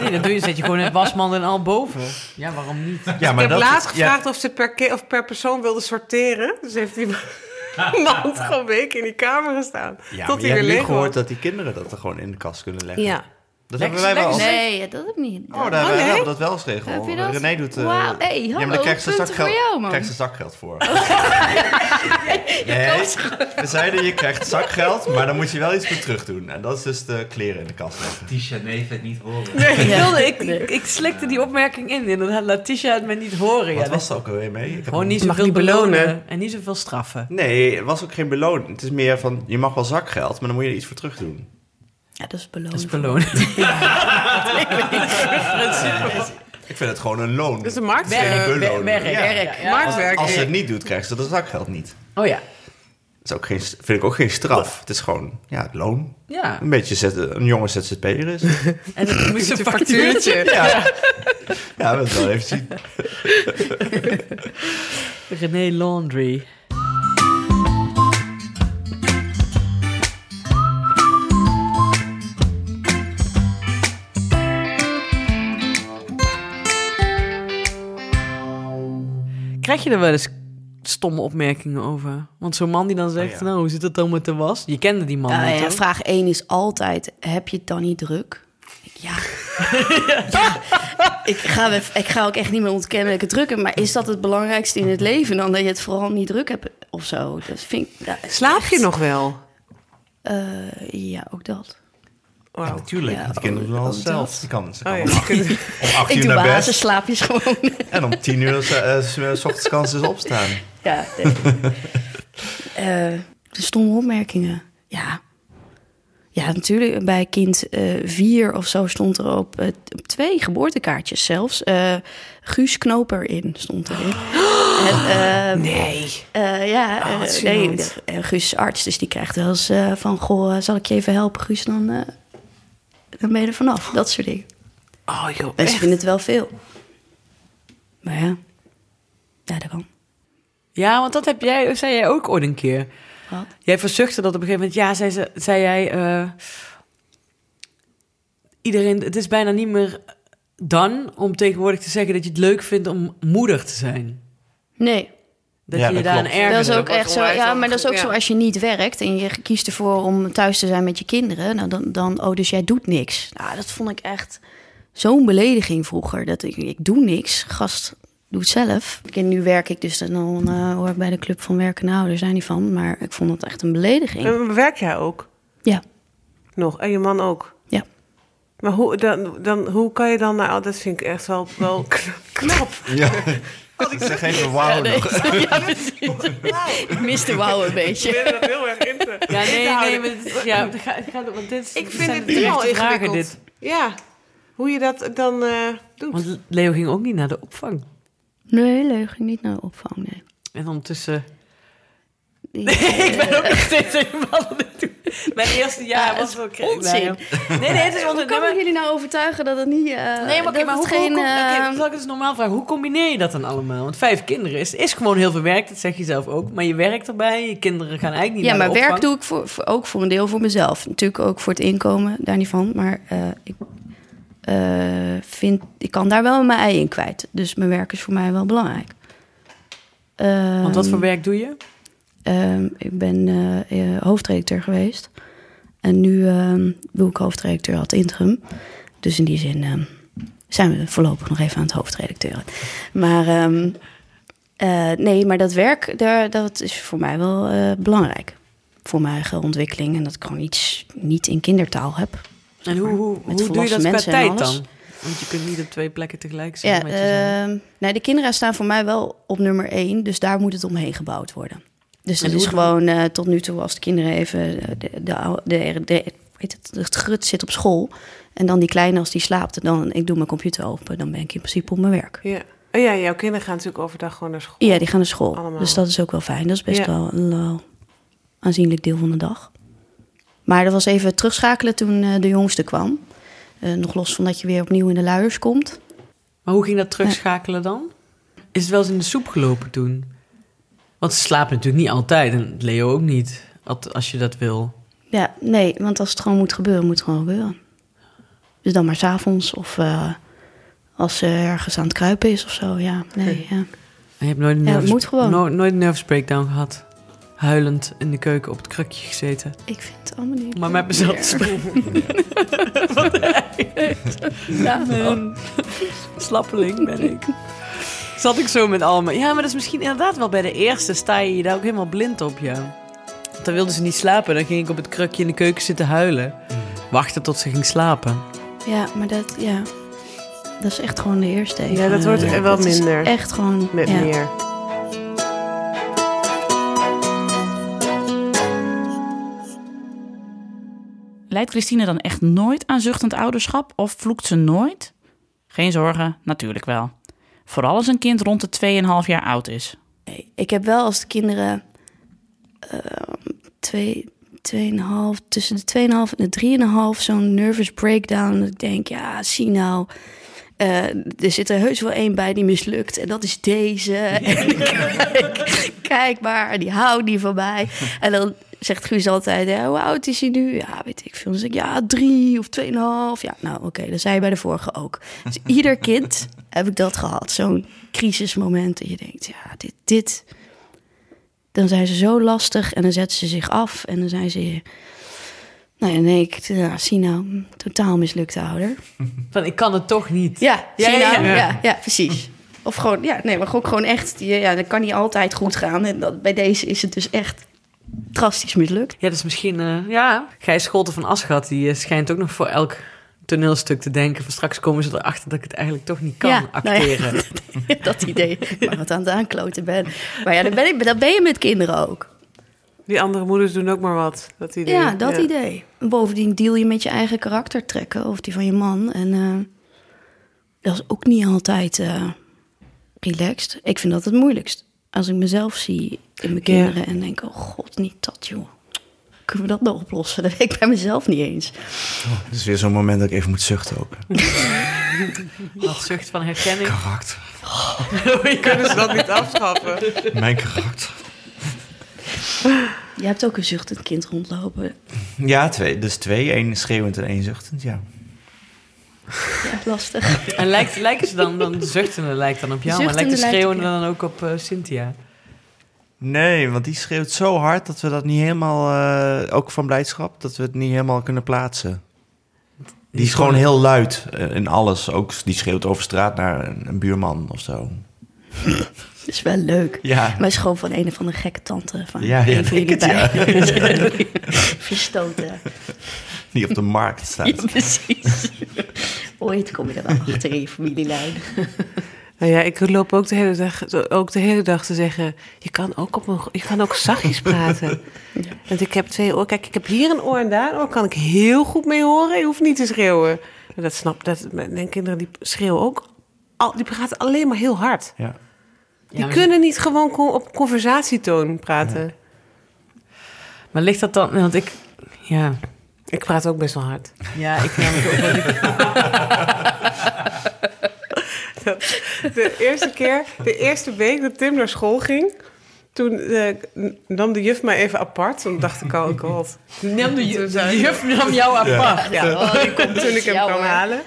Speaker 2: Nee, dat doe je, zet je gewoon het wasmand en al boven. Ja, waarom niet?
Speaker 1: Ja,
Speaker 6: ik heb laatst
Speaker 1: ja,
Speaker 6: gevraagd of ze per, ke- of per persoon wilde sorteren. Dus heeft die man gewoon weken in die kamer gestaan.
Speaker 1: ja,
Speaker 6: tot
Speaker 1: maar
Speaker 6: hij
Speaker 1: je
Speaker 6: weer
Speaker 1: hebt nu
Speaker 6: leeg
Speaker 1: gehoord
Speaker 6: wordt.
Speaker 1: dat die kinderen dat er gewoon in de kast kunnen leggen.
Speaker 6: Ja.
Speaker 1: Dat hebben wij wel als...
Speaker 3: Nee, ja, dat heb ik niet.
Speaker 1: Oh, daar
Speaker 6: nee?
Speaker 1: wij hebben we dat wel eens geregeld.
Speaker 3: Heb je dat?
Speaker 1: René doet... eh,
Speaker 3: Wauw, hey,
Speaker 1: ja, maar
Speaker 3: hallo,
Speaker 1: dan krijgt ze
Speaker 3: punten
Speaker 1: zakgeld,
Speaker 3: voor jou, man. Oh.
Speaker 1: krijgt ze zakgeld voor. nee, we zeiden je krijgt zakgeld, maar dan moet je wel iets voor terug doen. En dat is dus de kleren in de kast leggen.
Speaker 5: Tisha, nee, ik het niet horen.
Speaker 2: Ik,
Speaker 3: Ja.
Speaker 2: wilde, ik, ik, ik slikte die opmerking in en dan had Letitia het me niet horen.
Speaker 1: Wat
Speaker 2: ja,
Speaker 1: was er ook alweer mee? Ik heb
Speaker 2: Gewoon niet
Speaker 6: Mag
Speaker 2: zoveel
Speaker 6: niet
Speaker 2: belonen.
Speaker 6: belonen.
Speaker 2: en niet zoveel straffen.
Speaker 1: Nee, het was ook geen beloning. Het is meer van, je mag wel zakgeld, maar dan moet je er iets voor terug doen.
Speaker 3: Ja, dat is beloond.
Speaker 2: Dat is belonen.
Speaker 1: Ik vind het gewoon een loon.
Speaker 6: Dat is een markt.
Speaker 1: Werk.
Speaker 6: eh,
Speaker 1: belonen. Ja.
Speaker 6: Marktwerk.
Speaker 1: Als ze het niet doet, krijgt ze dat zakgeld niet.
Speaker 2: Oh ja.
Speaker 1: Dat is ook geen, vind ik ook geen straf. Het is gewoon, ja, het loon.
Speaker 2: Ja.
Speaker 1: Een beetje zet, een jonge ZZP'er is.
Speaker 2: En dan moet je een factuurtje.
Speaker 6: factuurtje.
Speaker 1: Ja. ja, dat wel even zien.
Speaker 2: René Laundry. Krijg je er wel eens stomme opmerkingen over? Want zo'n man die dan zegt,
Speaker 1: Oh ja.
Speaker 2: nou, hoe zit het dan met de was? Je kende die man
Speaker 3: Nou
Speaker 2: niet,
Speaker 3: ja,
Speaker 2: hoor.
Speaker 3: vraag 1 is altijd, heb je het dan niet druk? Ik, Ja. ja. Ik, ga, wel- ik ga ook echt niet meer ontkennen dat ik het druk heb. Maar is dat het belangrijkste in het leven? Dan dat je het vooral niet druk hebt of zo. Dat vind ik... ja,
Speaker 6: Slaap je nog wel?
Speaker 3: eh, ja, ook dat.
Speaker 6: Wauw.
Speaker 1: Natuurlijk,
Speaker 3: Ja,
Speaker 1: want die kinderen doen
Speaker 3: oh,
Speaker 1: alles
Speaker 3: oh,
Speaker 1: zelf.
Speaker 3: dat.
Speaker 1: Die kan, ze kan
Speaker 6: Oh,
Speaker 1: om
Speaker 6: ja.
Speaker 1: acht- om acht
Speaker 3: Ik
Speaker 1: uur
Speaker 3: doe
Speaker 1: naar bed.
Speaker 3: slaapjes gewoon.
Speaker 1: En om tien uur eh, eh, s s ochtends kan ze dus opstaan.
Speaker 3: ja. nee. Eh, de stomme opmerkingen. Ja. Ja, natuurlijk. Bij kind eh, vier of zo stond er op, eh, op twee geboortekaartjes zelfs. eh, Guus Knoper in stond erin. En, eh,
Speaker 6: Nee.
Speaker 3: eh, ja,
Speaker 6: Ah,
Speaker 3: eh,
Speaker 6: wat
Speaker 3: nee,
Speaker 6: gênant.
Speaker 3: de- eh, Guus is arts, dus die krijgt wel eens eh, van... Goh, eh, zal ik je even helpen, Guus? Dan, eh, dan ben je er vanaf. Dat soort dingen.
Speaker 6: Oh joh,
Speaker 3: Mensen
Speaker 6: echt?
Speaker 3: vinden het wel veel. Maar ja, ja dat kan.
Speaker 2: Ja, want dat heb jij, zei jij ook ooit een keer.
Speaker 3: Wat?
Speaker 2: Jij verzuchtte dat op een gegeven moment. Ja, zei, ze, zei jij... eh, iedereen, het is bijna niet meer dan om tegenwoordig te zeggen... dat je het leuk vindt om moeder te zijn.
Speaker 3: Nee,
Speaker 2: Dat
Speaker 1: Ja,
Speaker 2: je je
Speaker 1: dat
Speaker 2: daar
Speaker 1: klopt.
Speaker 2: erger...
Speaker 3: dat is ook
Speaker 6: dat wordt
Speaker 3: echt zo.
Speaker 6: onwijs
Speaker 3: Ja, maar
Speaker 6: handig,
Speaker 3: dat is ook
Speaker 6: ja.
Speaker 3: zo als je niet werkt en je kiest ervoor om thuis te zijn met je kinderen. Nou, dan, dan oh, dus jij doet niks. Nou, dat vond ik echt zo'n belediging vroeger. Dat ik, ik doe niks. Gast, doe het zelf. En nu werk ik dus en dan eh, hoor ik bij de club van werkende ouders, daar niet van. Maar ik vond dat echt een belediging.
Speaker 6: En Werk jij ook
Speaker 3: Ja,
Speaker 6: nog? En je man ook?
Speaker 3: ja.
Speaker 6: Maar hoe, dan, dan, hoe kan je dan... Nou, dat vind ik echt wel, wel knap. knap.
Speaker 1: Ja. Ze geven wauw nog.
Speaker 3: ja, precies. Ik miste wauw een
Speaker 6: Ik
Speaker 3: beetje.
Speaker 6: ben dat heel erg in te-
Speaker 2: Ja, nee,
Speaker 6: te
Speaker 2: nee,
Speaker 6: houden.
Speaker 2: maar het is- ja, het gaat- het gaat- want dit is-
Speaker 6: Ik
Speaker 2: dit
Speaker 6: vind
Speaker 2: zijn
Speaker 6: het
Speaker 2: de
Speaker 6: nu al
Speaker 2: terechte vragen,
Speaker 6: ingewikkeld.
Speaker 2: dit.
Speaker 6: Ja, hoe je dat dan eh, doet.
Speaker 2: Want Leo ging ook niet naar de opvang.
Speaker 3: Nee, leuk. Niet naar de opvang, nee.
Speaker 2: En ondertussen ik ben ook nog steeds helemaal aan het doen. Mijn eerste jaar
Speaker 3: Ja,
Speaker 2: was
Speaker 3: het
Speaker 2: ook
Speaker 3: is onzin.
Speaker 2: Nee, nee, het is onzin.
Speaker 3: Hoe kan
Speaker 2: Nee,
Speaker 3: ik jullie nou overtuigen dat het niet... eh,
Speaker 2: Nee, maar,
Speaker 3: dat
Speaker 2: oké, maar
Speaker 3: het
Speaker 2: hoe, hoe
Speaker 3: geen,
Speaker 2: kom- oké,
Speaker 3: eh,
Speaker 2: zal ik het eens normaal vragen? Hoe combineer je dat dan allemaal? Want vijf kinderen is, is gewoon heel veel werk, dat zeg je zelf ook. Maar je werkt erbij, je kinderen gaan eigenlijk niet
Speaker 3: Ja,
Speaker 2: naar
Speaker 3: maar
Speaker 2: de
Speaker 3: werk
Speaker 2: opvang.
Speaker 3: doe ik voor, voor- ook voor een deel voor mezelf. Natuurlijk ook voor het inkomen, daar niet van. Maar eh, ik, eh, vind, ik kan daar wel mijn ei in kwijt. Dus mijn werk is voor mij wel belangrijk.
Speaker 2: Want wat
Speaker 3: Ehm,
Speaker 2: voor werk doe je?
Speaker 3: Ehm, ik ben eh, eh, hoofdredacteur geweest. En nu ehm, doe ik hoofdredacteur ad interim. Dus in die zin ehm, zijn we voorlopig nog even aan het hoofdredacteuren. Maar ehm, eh, nee, maar dat werk, daar, dat is voor mij wel eh, belangrijk. Voor mijn eigen ontwikkeling. En dat ik gewoon iets niet in kindertaal heb.
Speaker 2: En hoe, hoe,
Speaker 3: met
Speaker 2: hoe doe je
Speaker 3: volwassen
Speaker 2: dat qua
Speaker 3: mensen en
Speaker 2: tijd
Speaker 3: alles.
Speaker 2: dan? Want je kunt niet op twee plekken tegelijk zijn
Speaker 3: Ja,
Speaker 2: met jezelf.
Speaker 3: ehm, nee, de kinderen staan voor mij wel op nummer één. Dus daar moet het omheen gebouwd worden. Dus
Speaker 2: En
Speaker 3: het
Speaker 2: hoe
Speaker 3: is
Speaker 2: dan?
Speaker 3: gewoon eh, tot nu toe als de kinderen even... eh, De, de, oude- de, de- weet het, het grut zit op school. En dan die kleine als die slaapt. Dan ik doe mijn computer open. Dan ben ik in principe op mijn werk.
Speaker 6: Ja. Oh ja, jouw kinderen gaan natuurlijk overdag gewoon naar school.
Speaker 3: Ja, die gaan naar school.
Speaker 6: Allemaal.
Speaker 3: Dus dat is ook wel fijn. Dat is best
Speaker 6: Ja.
Speaker 3: wel een eh, aanzienlijk deel van de dag. Maar dat was even terugschakelen toen eh, de jongste kwam. Eh, nog los van dat je weer opnieuw in de luiers komt.
Speaker 2: Maar hoe ging dat terugschakelen dan? Is het wel eens in de soep gelopen toen? Want ze slaapt natuurlijk niet altijd en Leo ook niet, at- als je dat wil.
Speaker 3: Ja, nee, want als het gewoon moet gebeuren, moet het gewoon gebeuren. Dus dan maar s'avonds of eh, als ze ergens aan het kruipen is of zo. Ja, nee, ja.
Speaker 2: En je hebt nooit
Speaker 3: Ja,
Speaker 2: een,
Speaker 3: dat
Speaker 2: nervous,
Speaker 3: moet gewoon.
Speaker 2: dus no- nooit een nervous breakdown gehad. Huilend in de keuken op het krukje gezeten.
Speaker 3: Ik vind het allemaal niet...
Speaker 2: Maar met mezelf te spreken. Wat erg. Ja, man. Slappeling ben ik. Zat ik zo met Alma. Ja, maar dat is misschien inderdaad wel bij de eerste. Sta je je daar ook helemaal blind op, ja. Want Dan wilde ze niet slapen. Dan ging ik op het krukje in de keuken zitten huilen. Wachten tot ze ging slapen.
Speaker 3: Ja, maar dat, ja. Dat is echt gewoon de eerste even.
Speaker 6: Ja, dat wordt
Speaker 3: eh,
Speaker 6: wel
Speaker 3: dat is
Speaker 6: minder.
Speaker 3: echt gewoon...
Speaker 6: Met
Speaker 3: ja.
Speaker 6: meer.
Speaker 4: Leidt Christine dan echt nooit aan zuchtend ouderschap of vloekt ze nooit? Geen zorgen, natuurlijk wel. Vooral als een kind rond de 2,5 jaar oud is.
Speaker 3: Nee, ik heb wel als de kinderen eh, twee, tweeënhalf, tussen de 2,5 en de drieënhalf zo'n nervous breakdown. Dat ik denk, ja, zie nou. eh, er zit er heus wel één bij die mislukt. En dat is deze. En kijk, kijk maar, die houdt niet van mij. En dan zegt Guus altijd, hè, hoe oud is hij nu? Ja, weet ik veel. Dan zeg ik, ja, drie of tweeënhalf. Ja, nou oké, dat zei je bij de vorige ook. Dus ieder kind heb ik dat gehad. Zo'n crisismoment dat je denkt, ja, dit, dit... Dan zijn ze zo lastig en dan zetten ze zich af. En dan zijn ze... Nou ja, nee, ik ja, zie nou, totaal mislukte ouder.
Speaker 2: Van, ik kan het toch niet.
Speaker 3: Ja,
Speaker 2: Ja,
Speaker 3: zie je
Speaker 2: ja,
Speaker 3: nou?
Speaker 2: ja.
Speaker 3: ja. Ja, precies. Of gewoon, ja, nee, maar ook gewoon echt, ja, ja, dat kan niet altijd goed gaan. En dat, bij deze is het dus echt drastisch mislukt.
Speaker 2: Ja, dat is misschien... eh, ja, Gijs Scholten van Aschat, die eh, schijnt ook nog voor elk toneelstuk te denken. Van straks komen ze erachter dat ik het eigenlijk toch niet kan
Speaker 3: Ja, nou ja.
Speaker 2: acteren.
Speaker 3: dat idee, maar wat aan het aankloten ben. Maar ja, dat ben, ik, dat ben je met kinderen ook.
Speaker 6: Die andere moeders doen ook maar wat. Dat idee.
Speaker 3: Ja, dat idee. En Bovendien deal je met je eigen karaktertrekken of die van je man. En eh, dat is ook niet altijd eh, relaxed. Ik vind dat het moeilijkst. Als ik mezelf zie in mijn
Speaker 6: Ja.
Speaker 3: kinderen en denk, oh god, niet dat joh. Kunnen we dat nou oplossen? Dat weet ik bij mezelf niet eens.
Speaker 1: Het is weer zo'n moment dat ik even moet zuchten ook.
Speaker 2: Dat zucht van herkenning.
Speaker 1: Karakter.
Speaker 6: Kunnen ze dat niet afschaffen?
Speaker 1: Mijn karakter.
Speaker 3: Je hebt ook een zuchtend kind rondlopen.
Speaker 1: Ja, twee. Dus twee. Eén schreeuwend en één zuchtend, ja.
Speaker 3: Ja, lastig.
Speaker 2: En lijkt, lijken ze dan, dan de zuchtende lijkt dan op jou, maar
Speaker 3: Zuchtende
Speaker 2: lijkt de
Speaker 3: lijkt op
Speaker 2: schreeuwende
Speaker 3: jou.
Speaker 2: dan ook op eh, Cynthia?
Speaker 1: Nee, want die schreeuwt zo hard dat we dat niet helemaal... eh, ook van blijdschap, dat we het niet helemaal kunnen plaatsen. Die is gewoon heel luid eh, in alles. Ook, die schreeuwt over straat naar een, een buurman of zo.
Speaker 3: Dat is wel leuk.
Speaker 1: Ja.
Speaker 3: Maar het is gewoon van een of andere gekke tante. Van
Speaker 1: Ja,
Speaker 3: ja,
Speaker 1: ja,
Speaker 3: een van
Speaker 1: denk
Speaker 3: jullie
Speaker 1: het, ja.
Speaker 3: bij. Verstoten.
Speaker 1: Die op de markt staat.
Speaker 3: Ja, precies. Ooit kom je er wel achter in je familielijn.
Speaker 6: Nou ja, ik loop ook de hele dag, ook de hele dag te zeggen... je kan ook, op een, je kan ook zachtjes praten. Want ik heb twee oor. Kijk, ik heb hier een oor en daar een oor. Kan ik heel goed mee horen. Je hoeft niet te schreeuwen. En Dat snap dat Mijn kinderen die schreeuwen ook... Al, die praten alleen maar heel hard.
Speaker 1: Ja.
Speaker 6: Die kunnen niet gewoon co- op conversatietoon praten.
Speaker 2: Maar ligt dat dan... Want ik... Ja,
Speaker 6: Ik praat ook best wel hard.
Speaker 2: ja ik namelijk ook... wel- ik-
Speaker 6: De eerste keer, de eerste week dat Tim naar school ging, toen eh, nam de juf mij even apart. Toen dacht ik al, oh god.
Speaker 2: Nam de
Speaker 6: Toen
Speaker 2: ju-
Speaker 6: zei
Speaker 2: de
Speaker 6: ik-
Speaker 2: juf nam jou apart.
Speaker 6: Ja, oh, toen ik hem
Speaker 3: Ja,
Speaker 6: kwam
Speaker 3: hoor.
Speaker 6: halen.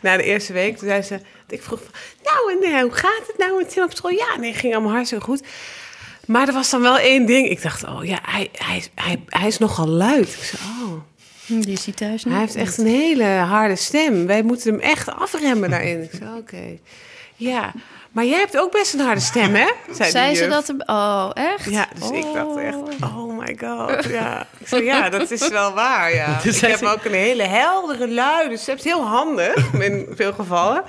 Speaker 6: Na de eerste week, toen zei ze... Ik vroeg van, nou, en, eh, hoe gaat het nou met Tim op school? Ja, nee, ging allemaal hartstikke goed. Maar er was dan wel één ding. Ik dacht, oh ja, hij, hij, hij, hij is nogal luid. Ik zei, oh,
Speaker 3: Hm, Die is die thuis niet.
Speaker 6: hij heeft echt een hele harde stem. Wij moeten hem echt afremmen daarin. Ik zei, oké. Ja, maar jij hebt ook best een harde stem, hè? Zei,
Speaker 3: Zei
Speaker 6: die
Speaker 3: ze
Speaker 6: juf.
Speaker 3: dat? hem- Oh, echt?
Speaker 6: Ja, dus ik dacht
Speaker 3: Oh.
Speaker 6: echt, oh my god, ja. Ik zei, ja, dat is wel waar, ja.
Speaker 2: Dus
Speaker 6: ik
Speaker 2: hij
Speaker 6: heb
Speaker 2: zei-
Speaker 6: ook een hele heldere lui, dus ze is heel handig in veel gevallen.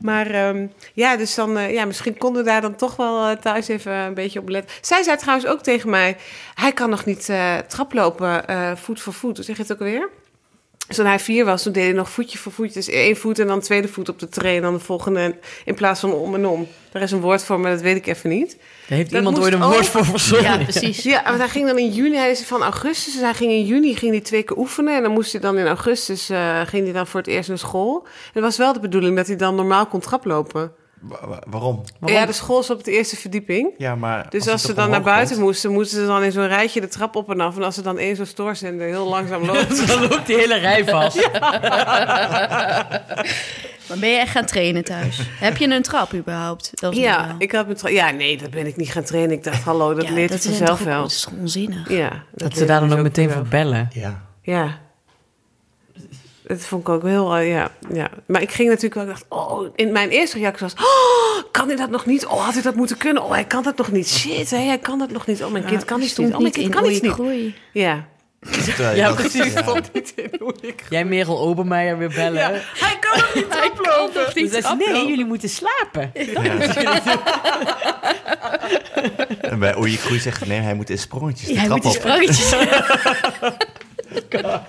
Speaker 6: Maar ehm, ja, dus dan, eh, ja, misschien konden we daar dan toch wel eh, thuis even een beetje op letten. Zij zei trouwens ook tegen mij, hij kan nog niet eh, traplopen eh, voet voor voet. Hoe zeg je het ook alweer? Dus toen hij vier was, toen deed hij nog voetje voor voetje. Dus één voet en dan tweede voet op de tree en dan de volgende in plaats van om en om. Daar is een woord voor, maar dat weet ik even niet.
Speaker 2: Daar heeft
Speaker 6: Dat
Speaker 2: iemand
Speaker 6: moest
Speaker 2: ooit een
Speaker 6: ook.
Speaker 2: woord voor verzonnen.
Speaker 3: Ja, precies.
Speaker 6: Ja, want hij ging dan in juni, hij is van augustus, dus hij ging in juni ging hij twee keer oefenen. En dan moest hij dan in augustus, eh, ging hij dan voor het eerst naar school. En het was wel de bedoeling dat hij dan normaal kon traplopen.
Speaker 1: Wa- wa- waarom?
Speaker 6: Ja, de school is op de eerste verdieping.
Speaker 1: Ja, maar
Speaker 6: Dus als,
Speaker 1: het
Speaker 6: ze
Speaker 1: toch
Speaker 6: dan naar
Speaker 1: omhoog
Speaker 6: buiten
Speaker 1: komt-
Speaker 6: moesten, moesten ze dan in zo'n rijtje de trap op en af. En als ze dan één zo'n stoorzender heel langzaam loopt.
Speaker 2: Dan loopt die hele rij vast.
Speaker 3: Maar ben je echt gaan trainen thuis? Heb je een trap überhaupt? Dat is niet
Speaker 6: ja,
Speaker 3: wel.
Speaker 6: ik had mijn tra- ja, nee, dat ben ik niet gaan trainen. Ik dacht, hallo, dat
Speaker 3: Ja,
Speaker 6: leert hij
Speaker 3: is een
Speaker 6: vanzelf
Speaker 3: trap-
Speaker 6: wel.
Speaker 3: Dat is onzinnig.
Speaker 6: Ja,
Speaker 2: Dat, ze daar
Speaker 6: leert hij
Speaker 2: dan ook
Speaker 6: zo
Speaker 2: meteen
Speaker 6: wel.
Speaker 2: voor bellen.
Speaker 1: Ja.
Speaker 6: Ja. Dat vond ik ook heel, eh, ja, ja. Maar ik ging natuurlijk wel, ik dacht, oh, in mijn eerste reactie was, oh, kan hij dat nog niet? Oh, had hij dat moeten kunnen? Oh, hij kan dat nog niet. Shit, hè, hij kan dat nog niet. Oh, mijn kind kan iets
Speaker 3: Stond
Speaker 6: niet. Oh, mijn kind
Speaker 3: in
Speaker 6: kan iets
Speaker 3: Oei
Speaker 6: niet.
Speaker 3: Groei.
Speaker 6: Ja.
Speaker 1: Terwijl je
Speaker 2: Ja,
Speaker 1: dat-
Speaker 2: precies.
Speaker 1: ja.
Speaker 6: niet in hoe ik...
Speaker 2: Jij Merel Obermeijer weer bellen.
Speaker 6: Ja, hij Dus kan het niet oplopen.
Speaker 2: Dan zei ze, nee, jullie moeten slapen.
Speaker 1: En bij Oei Groei zegt hij, nee, hij moet in sprongetjes de
Speaker 3: Jij
Speaker 1: trap
Speaker 3: moet die
Speaker 1: op.
Speaker 3: sprangetjes. Ja,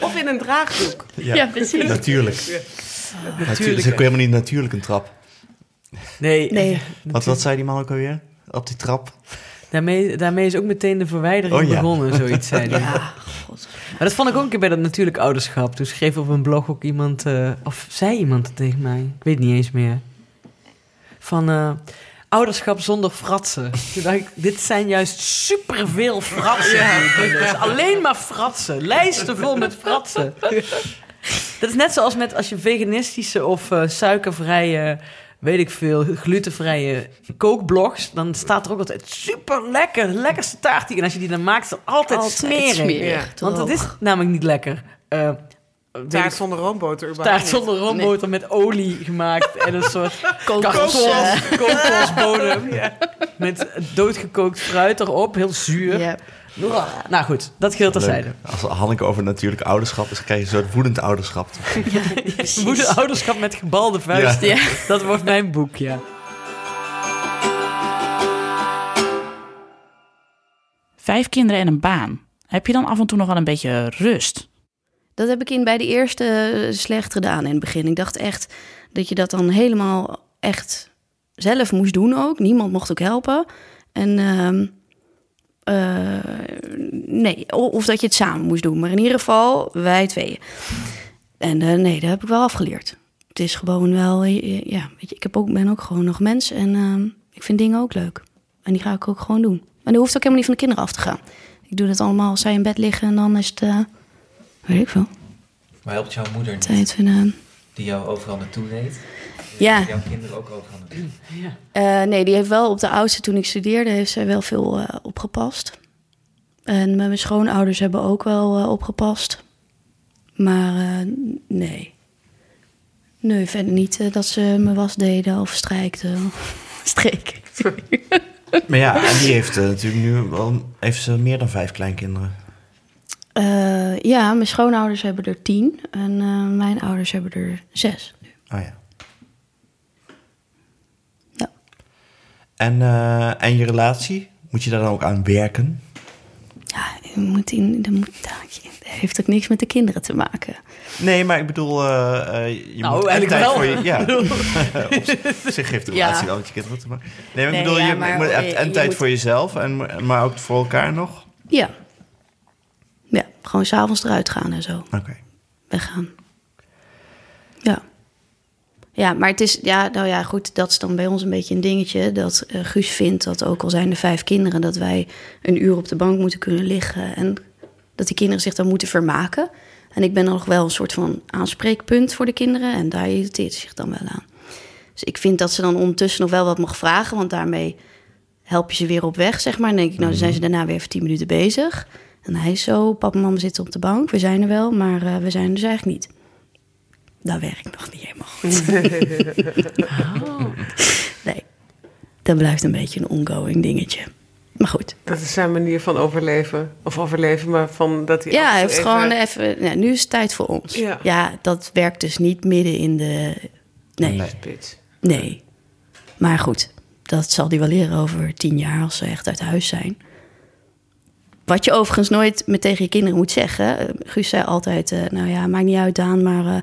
Speaker 6: Of in een draagdoek.
Speaker 1: Ja,
Speaker 3: precies.
Speaker 1: Natuurlijk. Natuurlijk. Ze kon helemaal niet natuurlijk een trap.
Speaker 2: Nee,
Speaker 3: Nee.
Speaker 1: Wat, wat zei die man ook alweer? Op die trap?
Speaker 2: Daarmee, daarmee is ook meteen de verwijdering
Speaker 1: Oh ja.
Speaker 2: begonnen, zoiets zei hij.
Speaker 3: Ja, god.
Speaker 2: Maar dat vond ik ook een keer bij dat natuurlijk ouderschap. Toen schreef op een blog ook iemand, eh, of zei iemand het tegen mij, ik weet niet eens meer. Van eh, ouderschap zonder fratsen. Toen dacht ik, dit zijn juist superveel fratsen. die ik lees. Alleen maar fratsen. Lijsten vol met fratsen. Dat is net zoals met als je veganistische of eh, suikervrije, weet ik veel, glutenvrije kookblogs. Dan staat er ook altijd super lekker, lekkerste taart hier. En als je die dan maakt, is het altijd,
Speaker 3: Altijd
Speaker 2: smerig.
Speaker 3: smerig,
Speaker 6: Ja,
Speaker 2: Want het
Speaker 3: droog.
Speaker 2: is namelijk niet lekker. Eh, weet
Speaker 6: Taart
Speaker 2: ik,
Speaker 6: zonder roomboter. überhaupt
Speaker 2: taart zonder roomboter met olie gemaakt en een soort
Speaker 3: kokos. eh,
Speaker 2: kokos- kokosbodem. Met doodgekookt fruit erop, heel zuur.
Speaker 3: Ja.
Speaker 2: Uah. Nou goed, dat geldt
Speaker 1: Leuk.
Speaker 2: terzijde.
Speaker 1: Als Hanneke over natuurlijk ouderschap is, krijg je een soort woedend ouderschap.
Speaker 2: Moeder ouderschap met gebalde vuist.
Speaker 1: Ja.
Speaker 2: Dat wordt mijn boek, ja.
Speaker 4: Vijf kinderen en een baan. Heb je dan af en toe nog wel een beetje rust?
Speaker 3: Dat heb ik in, bij de eerste eh, slecht gedaan in het begin. Ik dacht echt dat je dat dan helemaal echt zelf moest doen ook. Niemand mocht ook helpen. En ehm, eh, nee, o- of dat je het samen moest doen. Maar in ieder geval, wij tweeën. En eh, nee, dat heb ik wel afgeleerd. Het is gewoon wel, eh, ja, weet je, ik heb ook, ben ook gewoon nog mens. En ehm, ik vind dingen ook leuk. En die ga ik ook gewoon doen. En dat hoeft ook helemaal niet van de kinderen af te gaan. Ik doe dat allemaal als zij in bed liggen en dan is het... eh, Weet ik veel.
Speaker 5: Maar helpt jouw moeder niet,
Speaker 3: Tijd vinden.
Speaker 5: die jou overal naartoe deed?
Speaker 3: Ja,
Speaker 5: Jouw kinderen ook overal naartoe?
Speaker 3: eh, nee, die heeft wel op de oudste toen ik studeerde, heeft zij wel veel eh, opgepast. En mijn schoonouders hebben ook wel eh, opgepast. Maar eh, nee. Nee, verder niet eh, dat ze me was deden of strijkten. Streken.
Speaker 1: Maar ja, en die heeft eh, natuurlijk nu wel, heeft ze meer dan vijf kleinkinderen.
Speaker 3: Eh, ja, mijn schoonouders hebben er tien en eh, mijn ouders hebben er zes.
Speaker 1: Oh ja.
Speaker 3: Ja.
Speaker 1: En, eh, en je relatie? Moet je daar dan ook aan werken?
Speaker 3: Ja, je moet in, er moet, daar- dat heeft ook niks met de kinderen te maken.
Speaker 1: Nee, maar ik bedoel, eh, eh, je
Speaker 2: Nou,
Speaker 1: moet tijd
Speaker 2: eigenlijk wel.
Speaker 1: voor je. Ja. Op zich heeft de
Speaker 3: Ja.
Speaker 1: relatie wel met je kinderen te maken. Nee, maar ik
Speaker 3: Nee,
Speaker 1: bedoel,
Speaker 3: ja,
Speaker 1: je
Speaker 3: maar
Speaker 1: moet
Speaker 3: je-
Speaker 1: en
Speaker 3: je
Speaker 1: tijd
Speaker 3: moet-
Speaker 1: voor jezelf, en, maar ook voor elkaar nog.
Speaker 3: Ja. Gewoon s'avonds eruit gaan en zo.
Speaker 1: Oké.
Speaker 3: Weggaan. Ja. Ja, maar het is, ja, nou ja, goed, dat is dan bij ons een beetje een dingetje. Dat eh, Guus vindt dat ook al zijn er vijf kinderen, dat wij een uur op de bank moeten kunnen liggen. En dat die kinderen zich dan moeten vermaken. En ik ben dan nog wel een soort van aanspreekpunt voor de kinderen. En daar irriteert ze zich dan wel aan. Dus ik vind dat ze dan ondertussen nog wel wat mag vragen. Want daarmee help je ze weer op weg, zeg maar. En dan denk ik, nou, dan zijn ze daarna weer even tien minuten bezig. En hij is zo, papa en mama zitten op de bank. We zijn er wel, maar eh, we zijn er dus eigenlijk niet. Dat werkt nog niet helemaal goed. Nee, dat blijft een beetje een ongoing dingetje. Maar goed.
Speaker 6: Dat is zijn manier van overleven. Of overleven, maar van dat hij...
Speaker 3: Ja,
Speaker 6: af en
Speaker 3: hij
Speaker 6: toe
Speaker 3: heeft
Speaker 6: even-
Speaker 3: gewoon even... Nou, nu is het tijd voor ons.
Speaker 6: Ja.
Speaker 3: dat werkt dus niet midden in de... Nee, nee.
Speaker 6: Bitch.
Speaker 3: Maar goed, dat zal hij wel leren over tien jaar als ze echt uit huis zijn. Wat je overigens nooit met tegen je kinderen moet zeggen. Eh, Guus zei altijd, eh, nou ja, maakt niet uit Daan, maar... eh,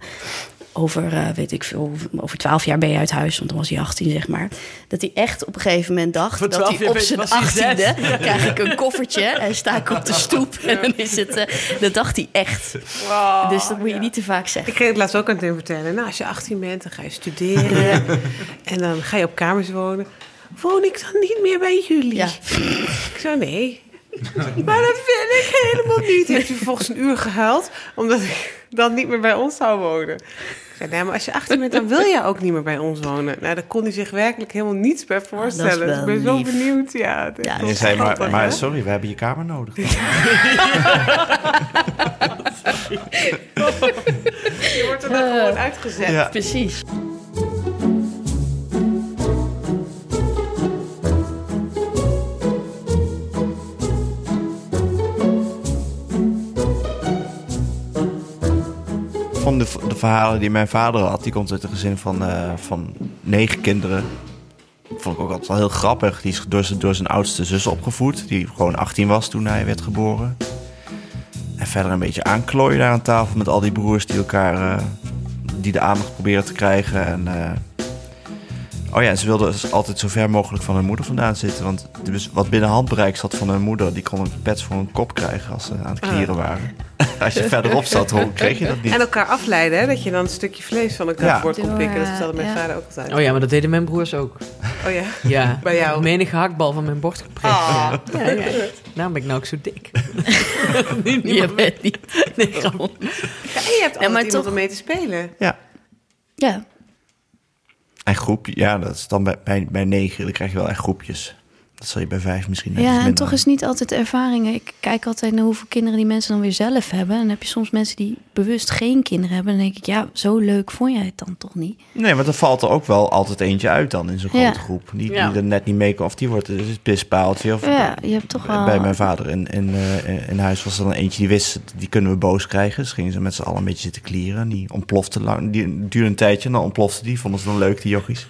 Speaker 3: over, eh, weet ik veel, over twaalf jaar ben je uit huis, want dan was hij 18, zeg maar. Dat hij echt op een gegeven moment dacht
Speaker 2: Voor
Speaker 3: dat
Speaker 2: 12
Speaker 3: hij
Speaker 2: jaar
Speaker 3: op
Speaker 2: ben-
Speaker 3: zijn
Speaker 2: was hij
Speaker 3: 18e krijg ik een koffertje en sta ik op de stoep. En dan is het, eh, dat dacht hij echt.
Speaker 2: Ah,
Speaker 3: dus dat moet je niet te vaak zeggen.
Speaker 6: Ik kreeg het laatst ook aan het vertellen. Nou, als je 18 bent, dan ga je studeren. en dan ga je op kamers wonen. Woon ik dan niet meer bij jullie?
Speaker 3: Ja.
Speaker 6: Ik zo, nee. maar dat wil ik helemaal niet. Heeft u vervolgens een uur gehuild, omdat ik dan niet meer bij ons zou wonen. Ik zei, nee, maar als je 18 bent, dan wil jij ook niet meer bij ons wonen. Nou, daar kon hij zich werkelijk helemaal niets bij voorstellen.
Speaker 3: wel
Speaker 6: Dus ik ben zo
Speaker 3: lief.
Speaker 6: benieuwd, ja. Het is
Speaker 3: Ja,
Speaker 1: En
Speaker 6: wel
Speaker 1: je zei,
Speaker 6: schattig,
Speaker 1: maar, maar
Speaker 6: hè?
Speaker 1: sorry, we hebben je kamer nodig.
Speaker 6: Je wordt er dan gewoon uitgezet.
Speaker 1: Ja.
Speaker 3: Precies.
Speaker 1: Van de, de verhalen die mijn vader had, die komt uit een gezin van, eh, van negen kinderen. Vond ik ook altijd wel heel grappig. Die is door zijn, door zijn oudste zus opgevoed, die gewoon 18 was toen hij werd geboren. En verder een beetje aanklooien daar aan tafel met al die broers die elkaar eh, die de aandacht proberen te krijgen. En, eh, oh ja, en ze wilden dus altijd zo ver mogelijk van hun moeder vandaan zitten. Want dus wat binnen handbereik zat van hun moeder, die kon een pets voor hun kop krijgen als ze aan het klieren waren. Als je verderop zat, hoe kreeg je dat niet?
Speaker 6: En elkaar afleiden, hè? dat je dan een stukje vlees van elkaar
Speaker 1: Ja.
Speaker 6: voor kon pikken. Dat
Speaker 3: Door,
Speaker 6: vertelde mijn
Speaker 3: ja.
Speaker 6: vader ook altijd.
Speaker 2: Oh ja, maar dat deden mijn broers ook.
Speaker 6: Oh ja.
Speaker 2: Ja.
Speaker 6: Bij jou?
Speaker 2: Menige hakbal van mijn bord geprikt.
Speaker 6: Ah.
Speaker 2: Ja. Ja, ja. Daarom ben ik nou ook zo dik. niet, niet
Speaker 3: Je bent niet.
Speaker 2: Nee, grap.
Speaker 6: Ja, en je hebt altijd
Speaker 3: maar
Speaker 6: iemand
Speaker 3: toch-
Speaker 6: om mee te spelen.
Speaker 1: Ja.
Speaker 3: Ja,
Speaker 1: En groepje, ja, dat is dan bij, bij, bij negen, dan krijg je wel echt groepjes. Dat zal je bij vijf misschien net iets
Speaker 3: ja en
Speaker 1: minder
Speaker 3: toch is het niet altijd de ervaringen. Ik kijk altijd naar hoeveel kinderen die mensen dan weer zelf hebben. En dan heb je soms mensen die bewust geen kinderen hebben. Dan denk ik, ja, zo leuk vond jij het dan toch niet?
Speaker 1: Nee, want er valt er ook wel altijd eentje uit dan in zo'n
Speaker 3: Ja.
Speaker 1: grote groep. Die, die
Speaker 2: Ja.
Speaker 1: er net niet mee kan, of die wordt dus een pispaaltje. Of
Speaker 3: Ja, je hebt toch wel...
Speaker 1: Bij mijn vader in, in, eh, in huis was er dan eentje die wist, die kunnen we boos krijgen. Dus gingen ze met z'n allen een beetje zitten klieren. En Die ontplofte lang, die duurde een tijdje en dan ontplofte die. Vonden ze dan leuk, die jochies.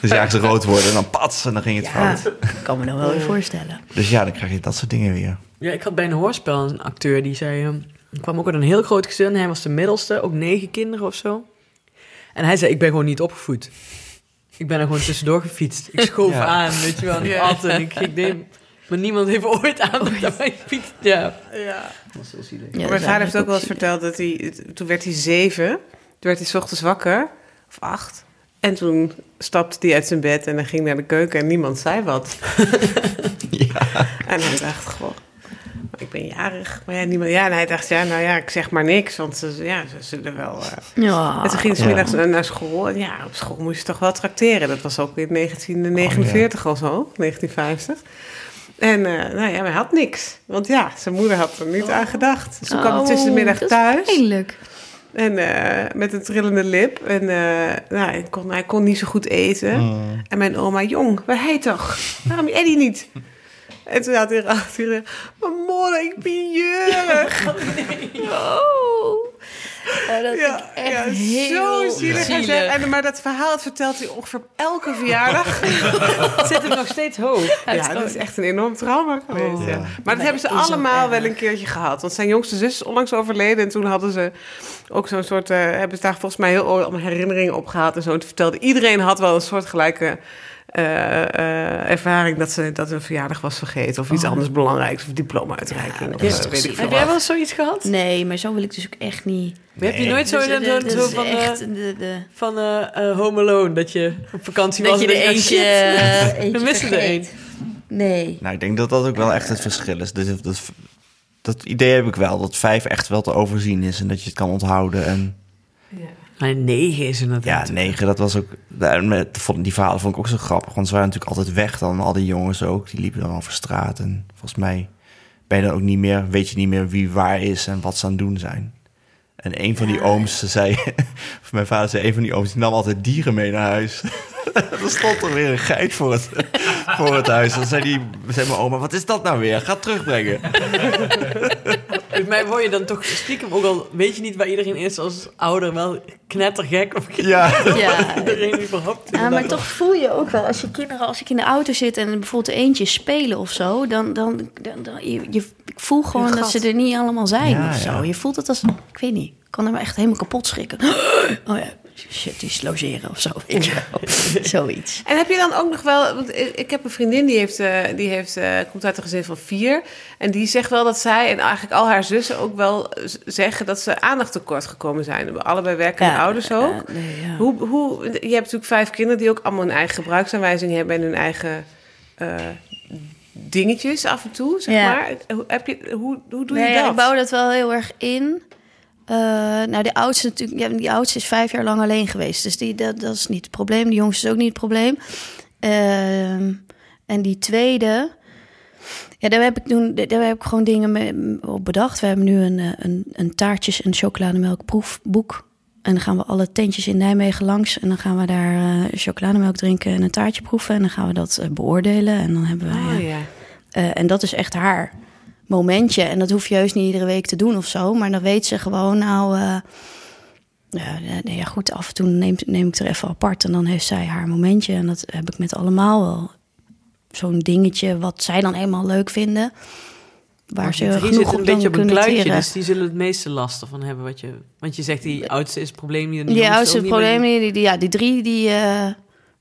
Speaker 1: dus ja, ze rood worden en dan pats en dan ging het
Speaker 3: Ja,
Speaker 1: fout.
Speaker 3: kan me nou wel weer voorstellen.
Speaker 1: Dus ja, dan krijg je dat soort dingen weer.
Speaker 2: Ja, ik had bij een hoorspel een acteur die zei... ehm, er kwam ook uit een heel groot gezin. Hij was de middelste, ook negen kinderen of zo. En hij zei, ik ben gewoon niet opgevoed. Ik ben er gewoon tussendoor gefietst. Ik schoof
Speaker 1: Ja.
Speaker 2: aan, weet je wel, en ik
Speaker 6: Ja.
Speaker 2: at en ik, ik deed... Maar niemand heeft ooit aandacht aan mijn fiets. Ja.
Speaker 6: Ja.
Speaker 3: Ja, dat
Speaker 6: mijn
Speaker 3: is
Speaker 6: vader heeft ook wel
Speaker 3: zielig.
Speaker 6: eens verteld dat hij... Toen werd hij zeven. Toen werd hij 's ochtends wakker. Of acht. En toen stapte hij uit zijn bed en hij ging naar de keuken en niemand zei wat. En hij dacht, goh, maar ik ben jarig. Maar ja, niemand, ja, en hij dacht, ja, nou ja, ik zeg maar niks, want ze, ja, ze zullen wel... eh.
Speaker 3: Ah, Ja.
Speaker 6: En toen ging ze
Speaker 1: Ja.
Speaker 6: middags naar- naar school en ja, op school moest je toch wel tracteren. Dat was ook in
Speaker 3: Oh,
Speaker 6: 1949 of zo, 1950. En eh, nou ja, hij had niks. Want ja, zijn moeder had er niet aan gedacht. Dus toen kwam hij tussen de middag
Speaker 3: Oh, dat is
Speaker 6: thuis.
Speaker 3: pijnlijk.
Speaker 6: En eh, met een trillende lip. En eh, nou, hij, kon, hij kon niet zo goed eten.
Speaker 3: Mm.
Speaker 6: En mijn oma, jong, waar hij toch? Waarom Eddie niet? En toen had hij erachter gezegd, mama, ik ben jurig.
Speaker 3: Oh. Oh, dat
Speaker 6: Ja,
Speaker 3: vind ik echt
Speaker 6: ja,
Speaker 3: heel
Speaker 6: zo zielig. Hij zei- En, maar dat verhaal dat vertelt hij ongeveer op elke verjaardag.
Speaker 2: Zit hem nog steeds hoog.
Speaker 6: ja, dat is echt een enorm trauma geweest.
Speaker 1: Oh.
Speaker 6: ja.
Speaker 1: Ja.
Speaker 6: Maar dat hebben ze
Speaker 3: dat is ook erg.
Speaker 6: allemaal wel een keertje gehad. Want zijn jongste zus is onlangs overleden. En toen hadden ze ook zo'n soort... eh, hebben ze daar volgens mij heel allemaal herinneringen opgehaald. En zo. En toen vertelde iedereen had wel een soort gelijke eh, eh, ervaring dat, ze, dat een verjaardag was vergeten. Of iets anders belangrijks. Of diploma-uitreiking. of
Speaker 1: is
Speaker 6: zo,
Speaker 1: toch
Speaker 6: weet ik
Speaker 3: zielig.
Speaker 6: veel
Speaker 2: Heb jij
Speaker 6: wat.
Speaker 2: wel eens zoiets gehad?
Speaker 3: Nee, maar zo wil ik dus ook echt niet.
Speaker 2: Heb je nooit zo,
Speaker 3: Dus,
Speaker 2: in
Speaker 3: eh, dat
Speaker 2: een- zo
Speaker 3: is
Speaker 2: van, eh,
Speaker 3: echt de, de,
Speaker 2: van eh, eh, Home Alone, dat je op vakantie
Speaker 3: dat
Speaker 2: was
Speaker 3: je
Speaker 2: en
Speaker 3: er
Speaker 2: dacht,
Speaker 3: eentje,
Speaker 2: shit.
Speaker 3: eh, eentje
Speaker 2: We missen er
Speaker 3: vergeet. Nee.
Speaker 1: Nou, ik denk dat dat ook wel echt het verschil is. Dat, dat, dat idee heb ik wel, dat vijf echt wel te overzien is en dat je het kan onthouden. En
Speaker 2: Maar negen is inderdaad.
Speaker 1: ja, negen, dat was ook... daar- met- vond- Die verhalen vond ik ook zo grappig, want ze waren natuurlijk altijd weg dan, al die jongens ook. Die liepen dan over straat en volgens mij ben je dan ook niet meer... weet je niet meer wie waar is en wat ze aan het doen zijn. En een van die ooms ze zei... of mijn vader zei, een van die ooms die nam altijd dieren mee naar huis. er stond er weer een geit voor het, voor het huis. Dan zei, die, zei mijn oma, wat is dat nou weer? Ga het terugbrengen.
Speaker 2: Volgens mij word je dan toch stiekem, ook al weet je niet waar iedereen is als ouder, wel knettergek of
Speaker 1: Ja.
Speaker 3: Ja.
Speaker 2: iedereen überhaupt.
Speaker 3: Ja, maar
Speaker 2: inderdaad.
Speaker 3: toch voel je ook wel, als je kinderen, als ik in de auto zit en bijvoorbeeld eentje spelen of zo, dan, dan, dan, dan- je, je- ik voel gewoon
Speaker 6: Een
Speaker 3: dat
Speaker 6: gat.
Speaker 3: ze er niet allemaal zijn
Speaker 1: Ja,
Speaker 3: of zo.
Speaker 1: ja.
Speaker 3: Je voelt het als, ik weet niet, ik kan er me echt helemaal kapot schrikken. Oh ja, shit, die is logeren of zo, weet je wel. Zoiets.
Speaker 6: En heb je dan ook nog wel, want ik ik heb een vriendin die, heeft, eh, die heeft, eh, komt uit een gezin van vier. En die zegt wel dat zij en eigenlijk al haar zussen ook wel eh, z- zeggen dat ze aandacht tekort gekomen zijn. Allebei werkende
Speaker 3: Ja,
Speaker 6: ouders ook.
Speaker 3: eh, nee, ja.
Speaker 6: Hoe, hoe, je hebt natuurlijk vijf kinderen die ook allemaal een eigen gebruiksaanwijzing hebben en hun eigen eh, dingetjes af en toe, zeg
Speaker 3: Ja.
Speaker 6: maar. Hoe, heb je, hoe, hoe doe je
Speaker 3: Nee, ja,
Speaker 6: dat?
Speaker 3: ik bouw dat wel heel erg in. Eh, nou, die oudste, natuurlijk, ja, die oudste is vijf jaar lang alleen geweest. Dus die, dat, dat is niet het probleem. De jongste is ook niet het probleem. Ehm, en die tweede... Ja, daar heb ik, toen, daar heb ik gewoon dingen mee op bedacht. We hebben nu een, eh, een, een taartjes- en chocolademelkproefboek. En dan gaan we alle tentjes in Nijmegen langs. En dan gaan we daar eh, chocolademelk drinken en een taartje proeven. En dan gaan we dat eh, beoordelen. En dan hebben we...
Speaker 6: Oh, ja.
Speaker 3: Eh, en dat is echt haar momentje. En dat hoef je heus niet iedere week te doen of zo. Maar dan weet ze gewoon, nou... eh, ja, nee, ja, goed, af en toe neem, neem ik er even apart. En dan heeft zij haar momentje. En dat heb ik met allemaal wel. Zo'n dingetje wat zij dan eenmaal leuk vinden. Waar ze
Speaker 2: Die
Speaker 3: genoeg
Speaker 2: zit
Speaker 3: op
Speaker 2: een beetje op een
Speaker 3: kunnen
Speaker 2: kluitje,
Speaker 3: teren.
Speaker 2: dus die zullen het meeste lasten van hebben. Wat je, want je zegt, die oudste is het probleem niet. en die
Speaker 3: Die
Speaker 2: jongste
Speaker 3: oudste
Speaker 2: ook niet, maar die-
Speaker 3: problemen, die, die- ja, die drie, die, eh,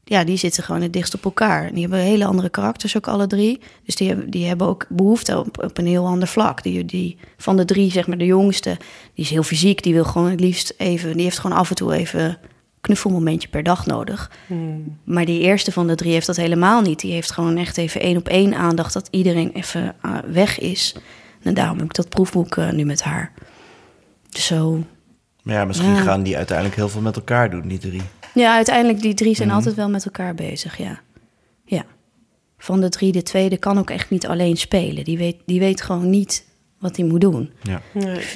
Speaker 3: ja, die zitten gewoon het dichtst op elkaar. En Die hebben hele andere karakters ook alle drie. Dus die, hebben- die hebben ook behoefte op, op een heel ander vlak. Die, die, van de drie, zeg maar, de jongste, die is heel fysiek. Die wil gewoon het liefst even, die heeft gewoon af en toe even een knuffelmomentje per dag nodig. Maar die eerste van de drie heeft dat helemaal niet. Die heeft gewoon echt even één op één aandacht dat iedereen even ah, weg is. En daarom heb ik dat proefboek eh, nu met haar. Dus zo
Speaker 1: Maar ja, misschien
Speaker 3: Ja.
Speaker 1: gaan die uiteindelijk heel veel met elkaar doen, die drie.
Speaker 3: Ja, uiteindelijk die drie zijn altijd wel met elkaar bezig, ja. Ja. Van de drie, de tweede kan ook echt niet alleen spelen. Die weet, die weet gewoon niet wat hij moet doen.
Speaker 1: Ja.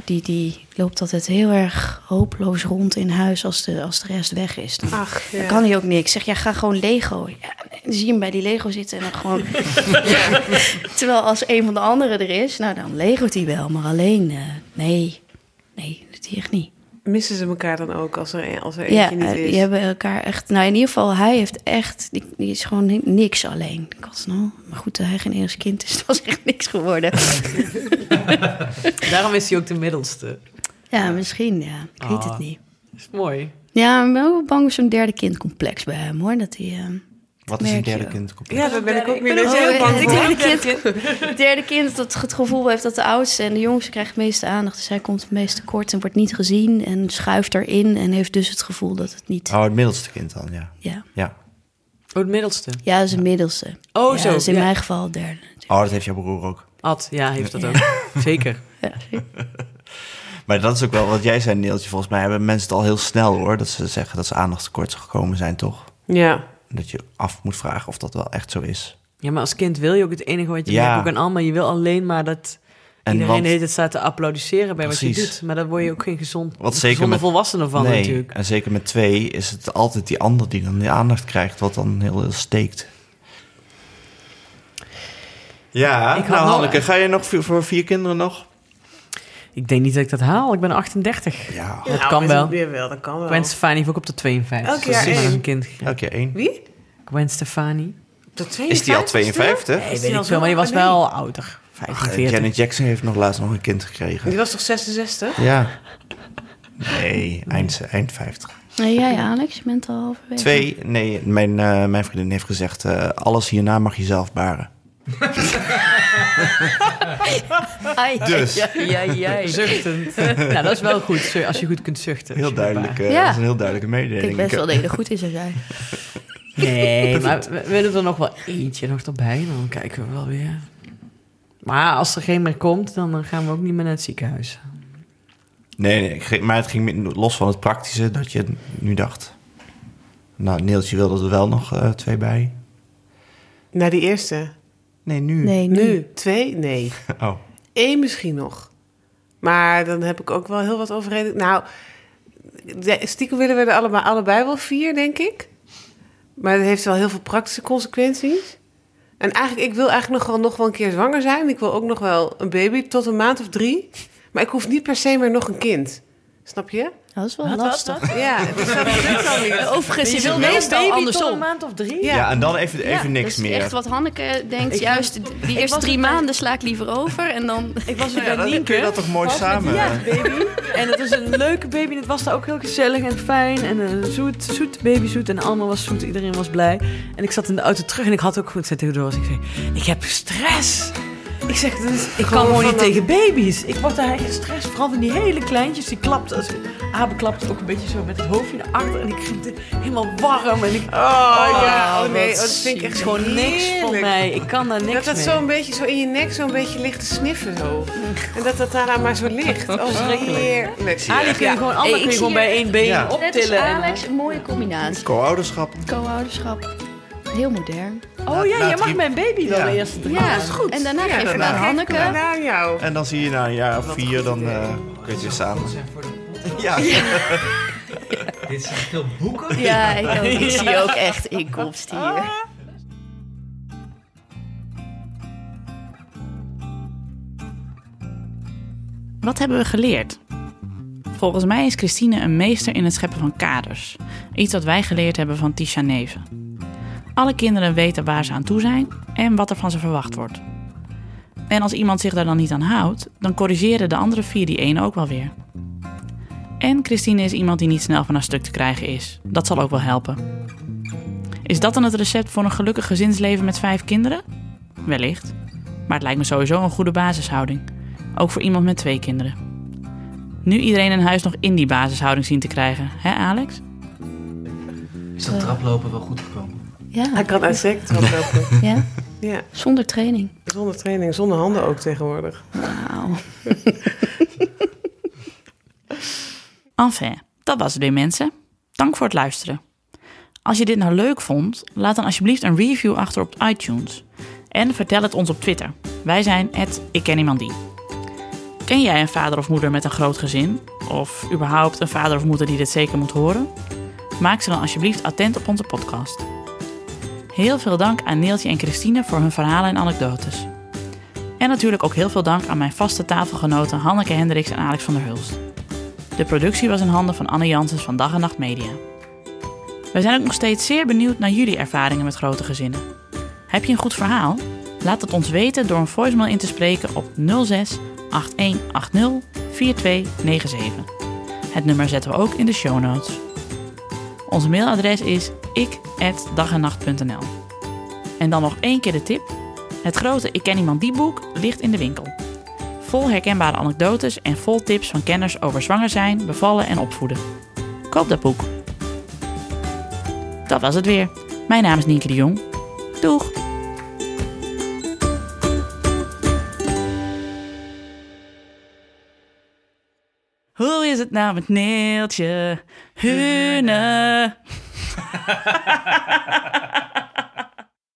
Speaker 3: Die, die loopt altijd heel erg hopeloos rond in huis als de, als de rest weg is. Dan,
Speaker 6: Ach,
Speaker 3: dan
Speaker 6: Ah, ja.
Speaker 3: kan hij ook niks. Ik Zeg, ja, ga gewoon Lego. Ja, dan zie je hem bij die Lego zitten en dan gewoon... Ja. Terwijl als een van de anderen er is, nou dan Lego't hij wel. Maar alleen, eh, nee, nee, dat doet hij echt niet
Speaker 6: Missen ze elkaar dan ook als er, een- als er
Speaker 3: ja,
Speaker 6: eentje niet
Speaker 3: eh,
Speaker 6: is?
Speaker 3: die hebben elkaar echt... Nou, in ieder geval, hij heeft echt... Die, die is gewoon ni- niks alleen. Ik was nou... Maar goed, dat hij geen eerste kind is, dat was echt niks geworden.
Speaker 2: Daarom is hij ook de middelste.
Speaker 3: ja, misschien, ja. Ik weet het
Speaker 2: Ah.
Speaker 3: niet.
Speaker 2: Dat is mooi.
Speaker 3: Ja, ik ben ook wel bang voor zo'n derde kindcomplex bij hem, hoor. Dat hij... eh,
Speaker 1: Wat is een
Speaker 3: merk je
Speaker 1: derde
Speaker 3: ook.
Speaker 1: kind? complex?
Speaker 6: Ja, daar ben ik ook weer
Speaker 3: ben ook heel
Speaker 6: heel
Speaker 3: erg-
Speaker 6: bang
Speaker 3: ik
Speaker 6: voor.
Speaker 3: ben ook Het derde eh, kind dat het gevoel heeft dat de oudste en de jongste krijgt het meeste aandacht. Dus hij komt het meeste kort en wordt niet gezien en schuift erin en heeft dus het gevoel dat het niet...
Speaker 1: Oh, het middelste kind dan, ja.
Speaker 3: Ja,
Speaker 1: ja.
Speaker 2: Oh, het middelste.
Speaker 3: ja dat is een middelste.
Speaker 2: Oh,
Speaker 3: ja,
Speaker 2: zo,
Speaker 3: Dat is in
Speaker 2: ja.
Speaker 3: mijn geval het derde.
Speaker 1: Oh, dat heeft jouw broer ook.
Speaker 2: Ad, ja, heeft dat ook. Zeker.
Speaker 3: Ja,
Speaker 1: Maar dat is ook wel wat jij zei, Neeltje. Volgens mij hebben mensen het al heel snel, hoor. Dat ze zeggen dat ze aandachtstekort gekomen zijn, toch?
Speaker 6: Ja.
Speaker 1: En Dat je af moet vragen of dat wel echt zo is.
Speaker 2: Ja, maar als kind wil je ook het enige wat je
Speaker 1: Ja.
Speaker 2: hebt ook aan allemaal. Je wil alleen maar dat
Speaker 1: En
Speaker 2: iedereen
Speaker 1: want-
Speaker 2: de hele tijd staat te applaudisseren bij wat je
Speaker 1: Precies.
Speaker 2: doet. Maar daar word je ook geen gezond,
Speaker 1: Wat zeker
Speaker 2: gezonde
Speaker 1: met-
Speaker 2: volwassene van
Speaker 1: nee.
Speaker 2: natuurlijk.
Speaker 1: En zeker met twee is het altijd die ander die dan de aandacht krijgt, wat dan heel, heel steekt. Ja,
Speaker 2: Ik had
Speaker 1: nou
Speaker 2: nog-
Speaker 1: Hanneke, ga je nog voor- voor vier kinderen nog?
Speaker 2: Ik denk niet dat ik dat haal. Ik ben 38.
Speaker 1: Ja,
Speaker 2: Dat kan wel.
Speaker 6: Ja, wel, dat kan wel.
Speaker 2: Gwen Stefani heeft ook op de 52.
Speaker 6: Elk jaar
Speaker 2: Ze is
Speaker 6: één.
Speaker 2: een kind.
Speaker 1: elke keer één.
Speaker 6: Wie?
Speaker 2: Gwen Stefani.
Speaker 6: Tot
Speaker 1: Is die al 52?
Speaker 2: Nee,
Speaker 6: Is
Speaker 2: weet
Speaker 6: die
Speaker 2: ik
Speaker 6: al
Speaker 2: veel,
Speaker 6: zo
Speaker 2: maar die was
Speaker 6: oud? Nee.
Speaker 2: wel ouder. 45.
Speaker 1: Ach, Janet Jackson heeft nog laatst nog een kind
Speaker 6: Die
Speaker 1: gekregen.
Speaker 6: was toch 66?
Speaker 1: Ja. Nee, eind, eind 50.
Speaker 3: En jij, Alex, je bent al halverwege.
Speaker 1: Twee, nee, mijn, eh, mijn vriendin heeft gezegd... eh, alles hierna mag je zelf baren.
Speaker 3: Ai,
Speaker 1: Dus.
Speaker 2: Ja, ja, ja. Zuchtend. nou, dat is wel goed, zo- als je goed kunt zuchten.
Speaker 1: Heel duidelijk, eh,
Speaker 3: Ja.
Speaker 1: dat is een heel duidelijke mededeling.
Speaker 3: Ik ben best wel degelijk goed in, zeg jij.
Speaker 2: Nee, maar we we willen er nog wel eentje nog erbij. Dan kijken we wel weer. Maar als er geen meer komt, dan eh, gaan we ook niet meer naar het ziekenhuis.
Speaker 1: Nee, nee ik ge- maar het ging mi- los van het praktische dat je nu dacht. Nou, Neeltje wilde er wel nog eh, twee bij.
Speaker 6: Na die eerste.
Speaker 1: Nee, nu.
Speaker 3: Nee,
Speaker 6: Nu. Twee? Nee.
Speaker 1: Oh.
Speaker 6: Eén misschien nog. Maar dan heb ik ook wel heel wat overreden. Nou, de- stiekem willen we er allemaal, allebei wel vier, denk ik. Maar dat heeft wel heel veel praktische consequenties. En eigenlijk, ik wil eigenlijk nog wel, nog wel een keer zwanger zijn. Ik wil ook nog wel een baby tot een maand of drie. Maar ik hoef niet per se meer nog een kind. Snap je?
Speaker 3: Dat is wel lastig.
Speaker 6: Ja, dus dat lukt dan niet.
Speaker 3: Overigens, je wil wel
Speaker 2: Baby tot
Speaker 3: andersom.
Speaker 2: een maand of drie?
Speaker 1: Ja.
Speaker 6: Ja.
Speaker 1: en dan even, even niks meer.
Speaker 3: echt wat Hanneke denkt.
Speaker 2: Ik-
Speaker 3: juist die eerste
Speaker 2: was
Speaker 3: drie
Speaker 2: er bij-
Speaker 3: maanden sla ik liever over. En dan...
Speaker 2: Ik was er
Speaker 1: Ja,
Speaker 2: bij
Speaker 1: dan kun je
Speaker 2: Nienke.
Speaker 1: dat toch mooi samen... eh,
Speaker 2: Ja, baby. En het was een leuke baby. En het was daar ook heel gezellig en fijn. En eh, zoet, zoet, baby zoet. En allemaal was zoet. Iedereen was blij. En ik zat in de auto terug en ik had ook goed zitten door. Dus ik zei, ik heb stress. Ik zeg, dit is- ik kan gewoon niet tegen baby's. Ik word daar echt stress. Vooral van die hele kleintjes. Die klapt, als, Abe klapt ook een beetje zo met het hoofdje naar achter. En ik ging het helemaal warm. En ik,
Speaker 6: Oh ja, oh nee.
Speaker 2: wat
Speaker 6: Oh, dat vind ik
Speaker 2: zielig.
Speaker 6: echt
Speaker 2: gewoon niks voor
Speaker 6: heerlijk.
Speaker 2: mij. Ik kan daar niks
Speaker 6: dat dat
Speaker 2: mee.
Speaker 6: zo'n beetje zo in je nek zo'n beetje ligt te sniffen zo. En dat dat daaraan maar zo ligt. Oh,
Speaker 2: Verschrikkelijk.
Speaker 6: heerlijk.
Speaker 2: Ali kun je
Speaker 6: Ja.
Speaker 2: gewoon, allemaal
Speaker 3: Hey,
Speaker 2: kun
Speaker 3: ik
Speaker 2: je gewoon
Speaker 3: zie
Speaker 2: bij
Speaker 3: hier
Speaker 2: één been
Speaker 1: Ja.
Speaker 3: Net als
Speaker 2: optillen. en-
Speaker 3: Alex, een mooie combinatie.
Speaker 1: Co-ouderschap.
Speaker 3: Co-ouderschap. Heel modern.
Speaker 2: Oh ja,
Speaker 1: laat
Speaker 2: jij mag
Speaker 1: hier-
Speaker 2: mijn baby dan
Speaker 1: Ja.
Speaker 2: de eerste drie.
Speaker 3: Ja,
Speaker 2: maanden.
Speaker 3: goed. En daarna
Speaker 6: Ja,
Speaker 3: geef je
Speaker 6: daarna
Speaker 3: naar
Speaker 6: geef ik hem
Speaker 3: Hanneke.
Speaker 6: aan Nou, jou.
Speaker 1: En dan zie je na een jaar of
Speaker 6: Wat
Speaker 1: vier,
Speaker 6: goed
Speaker 1: dan
Speaker 6: idee.
Speaker 1: eh, kun je het weer samen.
Speaker 5: zijn voor de pot.
Speaker 1: Ja,
Speaker 5: Dit zijn veel boeken.
Speaker 3: Ja, ik, ook. ik zie ook echt inkomsten hier.
Speaker 4: Wat hebben we geleerd? Volgens mij is Christine een meester in het scheppen van kaders. Iets dat wij geleerd hebben van Tisha Neven. Alle kinderen weten waar ze aan toe zijn en wat er van ze verwacht wordt. En als iemand zich daar dan niet aan houdt, dan corrigeren de andere vier die ene ook wel weer. En Christine is iemand die niet snel van haar stuk te krijgen is. Dat zal ook wel helpen. Is dat dan het recept voor een gelukkig gezinsleven met vijf kinderen? Wellicht. Maar het lijkt me sowieso een goede basishouding. Ook voor iemand met twee kinderen. Nu iedereen in huis nog in die basishouding zien te krijgen, hè Alex?
Speaker 5: Is dat traplopen wel goed gekomen?
Speaker 6: Hij
Speaker 3: Ja,
Speaker 6: kan uitstekend wel lopen.
Speaker 3: ja.
Speaker 6: Ja,
Speaker 3: Zonder training.
Speaker 6: zonder training, zonder handen ook tegenwoordig.
Speaker 3: Wauw.
Speaker 4: Enfin, dat was het weer mensen. Dank voor het luisteren. Als je dit nou leuk vond, laat dan alsjeblieft een review achter op iTunes. En vertel het ons op Twitter. Wij zijn het Ik Ken Iemand Die. Ken jij een vader of moeder met een groot gezin? Of überhaupt een vader of moeder die dit zeker moet horen? Maak ze dan alsjeblieft attent op onze podcast. Heel veel dank aan Neeltje en Christine voor hun verhalen en anekdotes. En natuurlijk ook heel veel dank aan mijn vaste tafelgenoten Hanneke Hendricks en Alex van der Hulst. De productie was in handen van Anne Janssens van Dag en Nacht Media. We zijn ook nog steeds zeer benieuwd naar jullie ervaringen met grote gezinnen. Heb je een goed verhaal? Laat het ons weten door een voicemail in te spreken op 06 8180 4297. Het nummer zetten we ook in de show notes. Ons mailadres is ik@dagennacht.nl. En dan nog één keer de tip. Het grote Ik ken iemand die boek ligt in de winkel vol herkenbare anekdotes en vol tips van kenners over zwanger zijn, bevallen en opvoeden. Koop dat boek. Dat was het weer. Mijn naam is Nienke de Jong. Doeg! Hoe is het nou met Neeltje? Hune.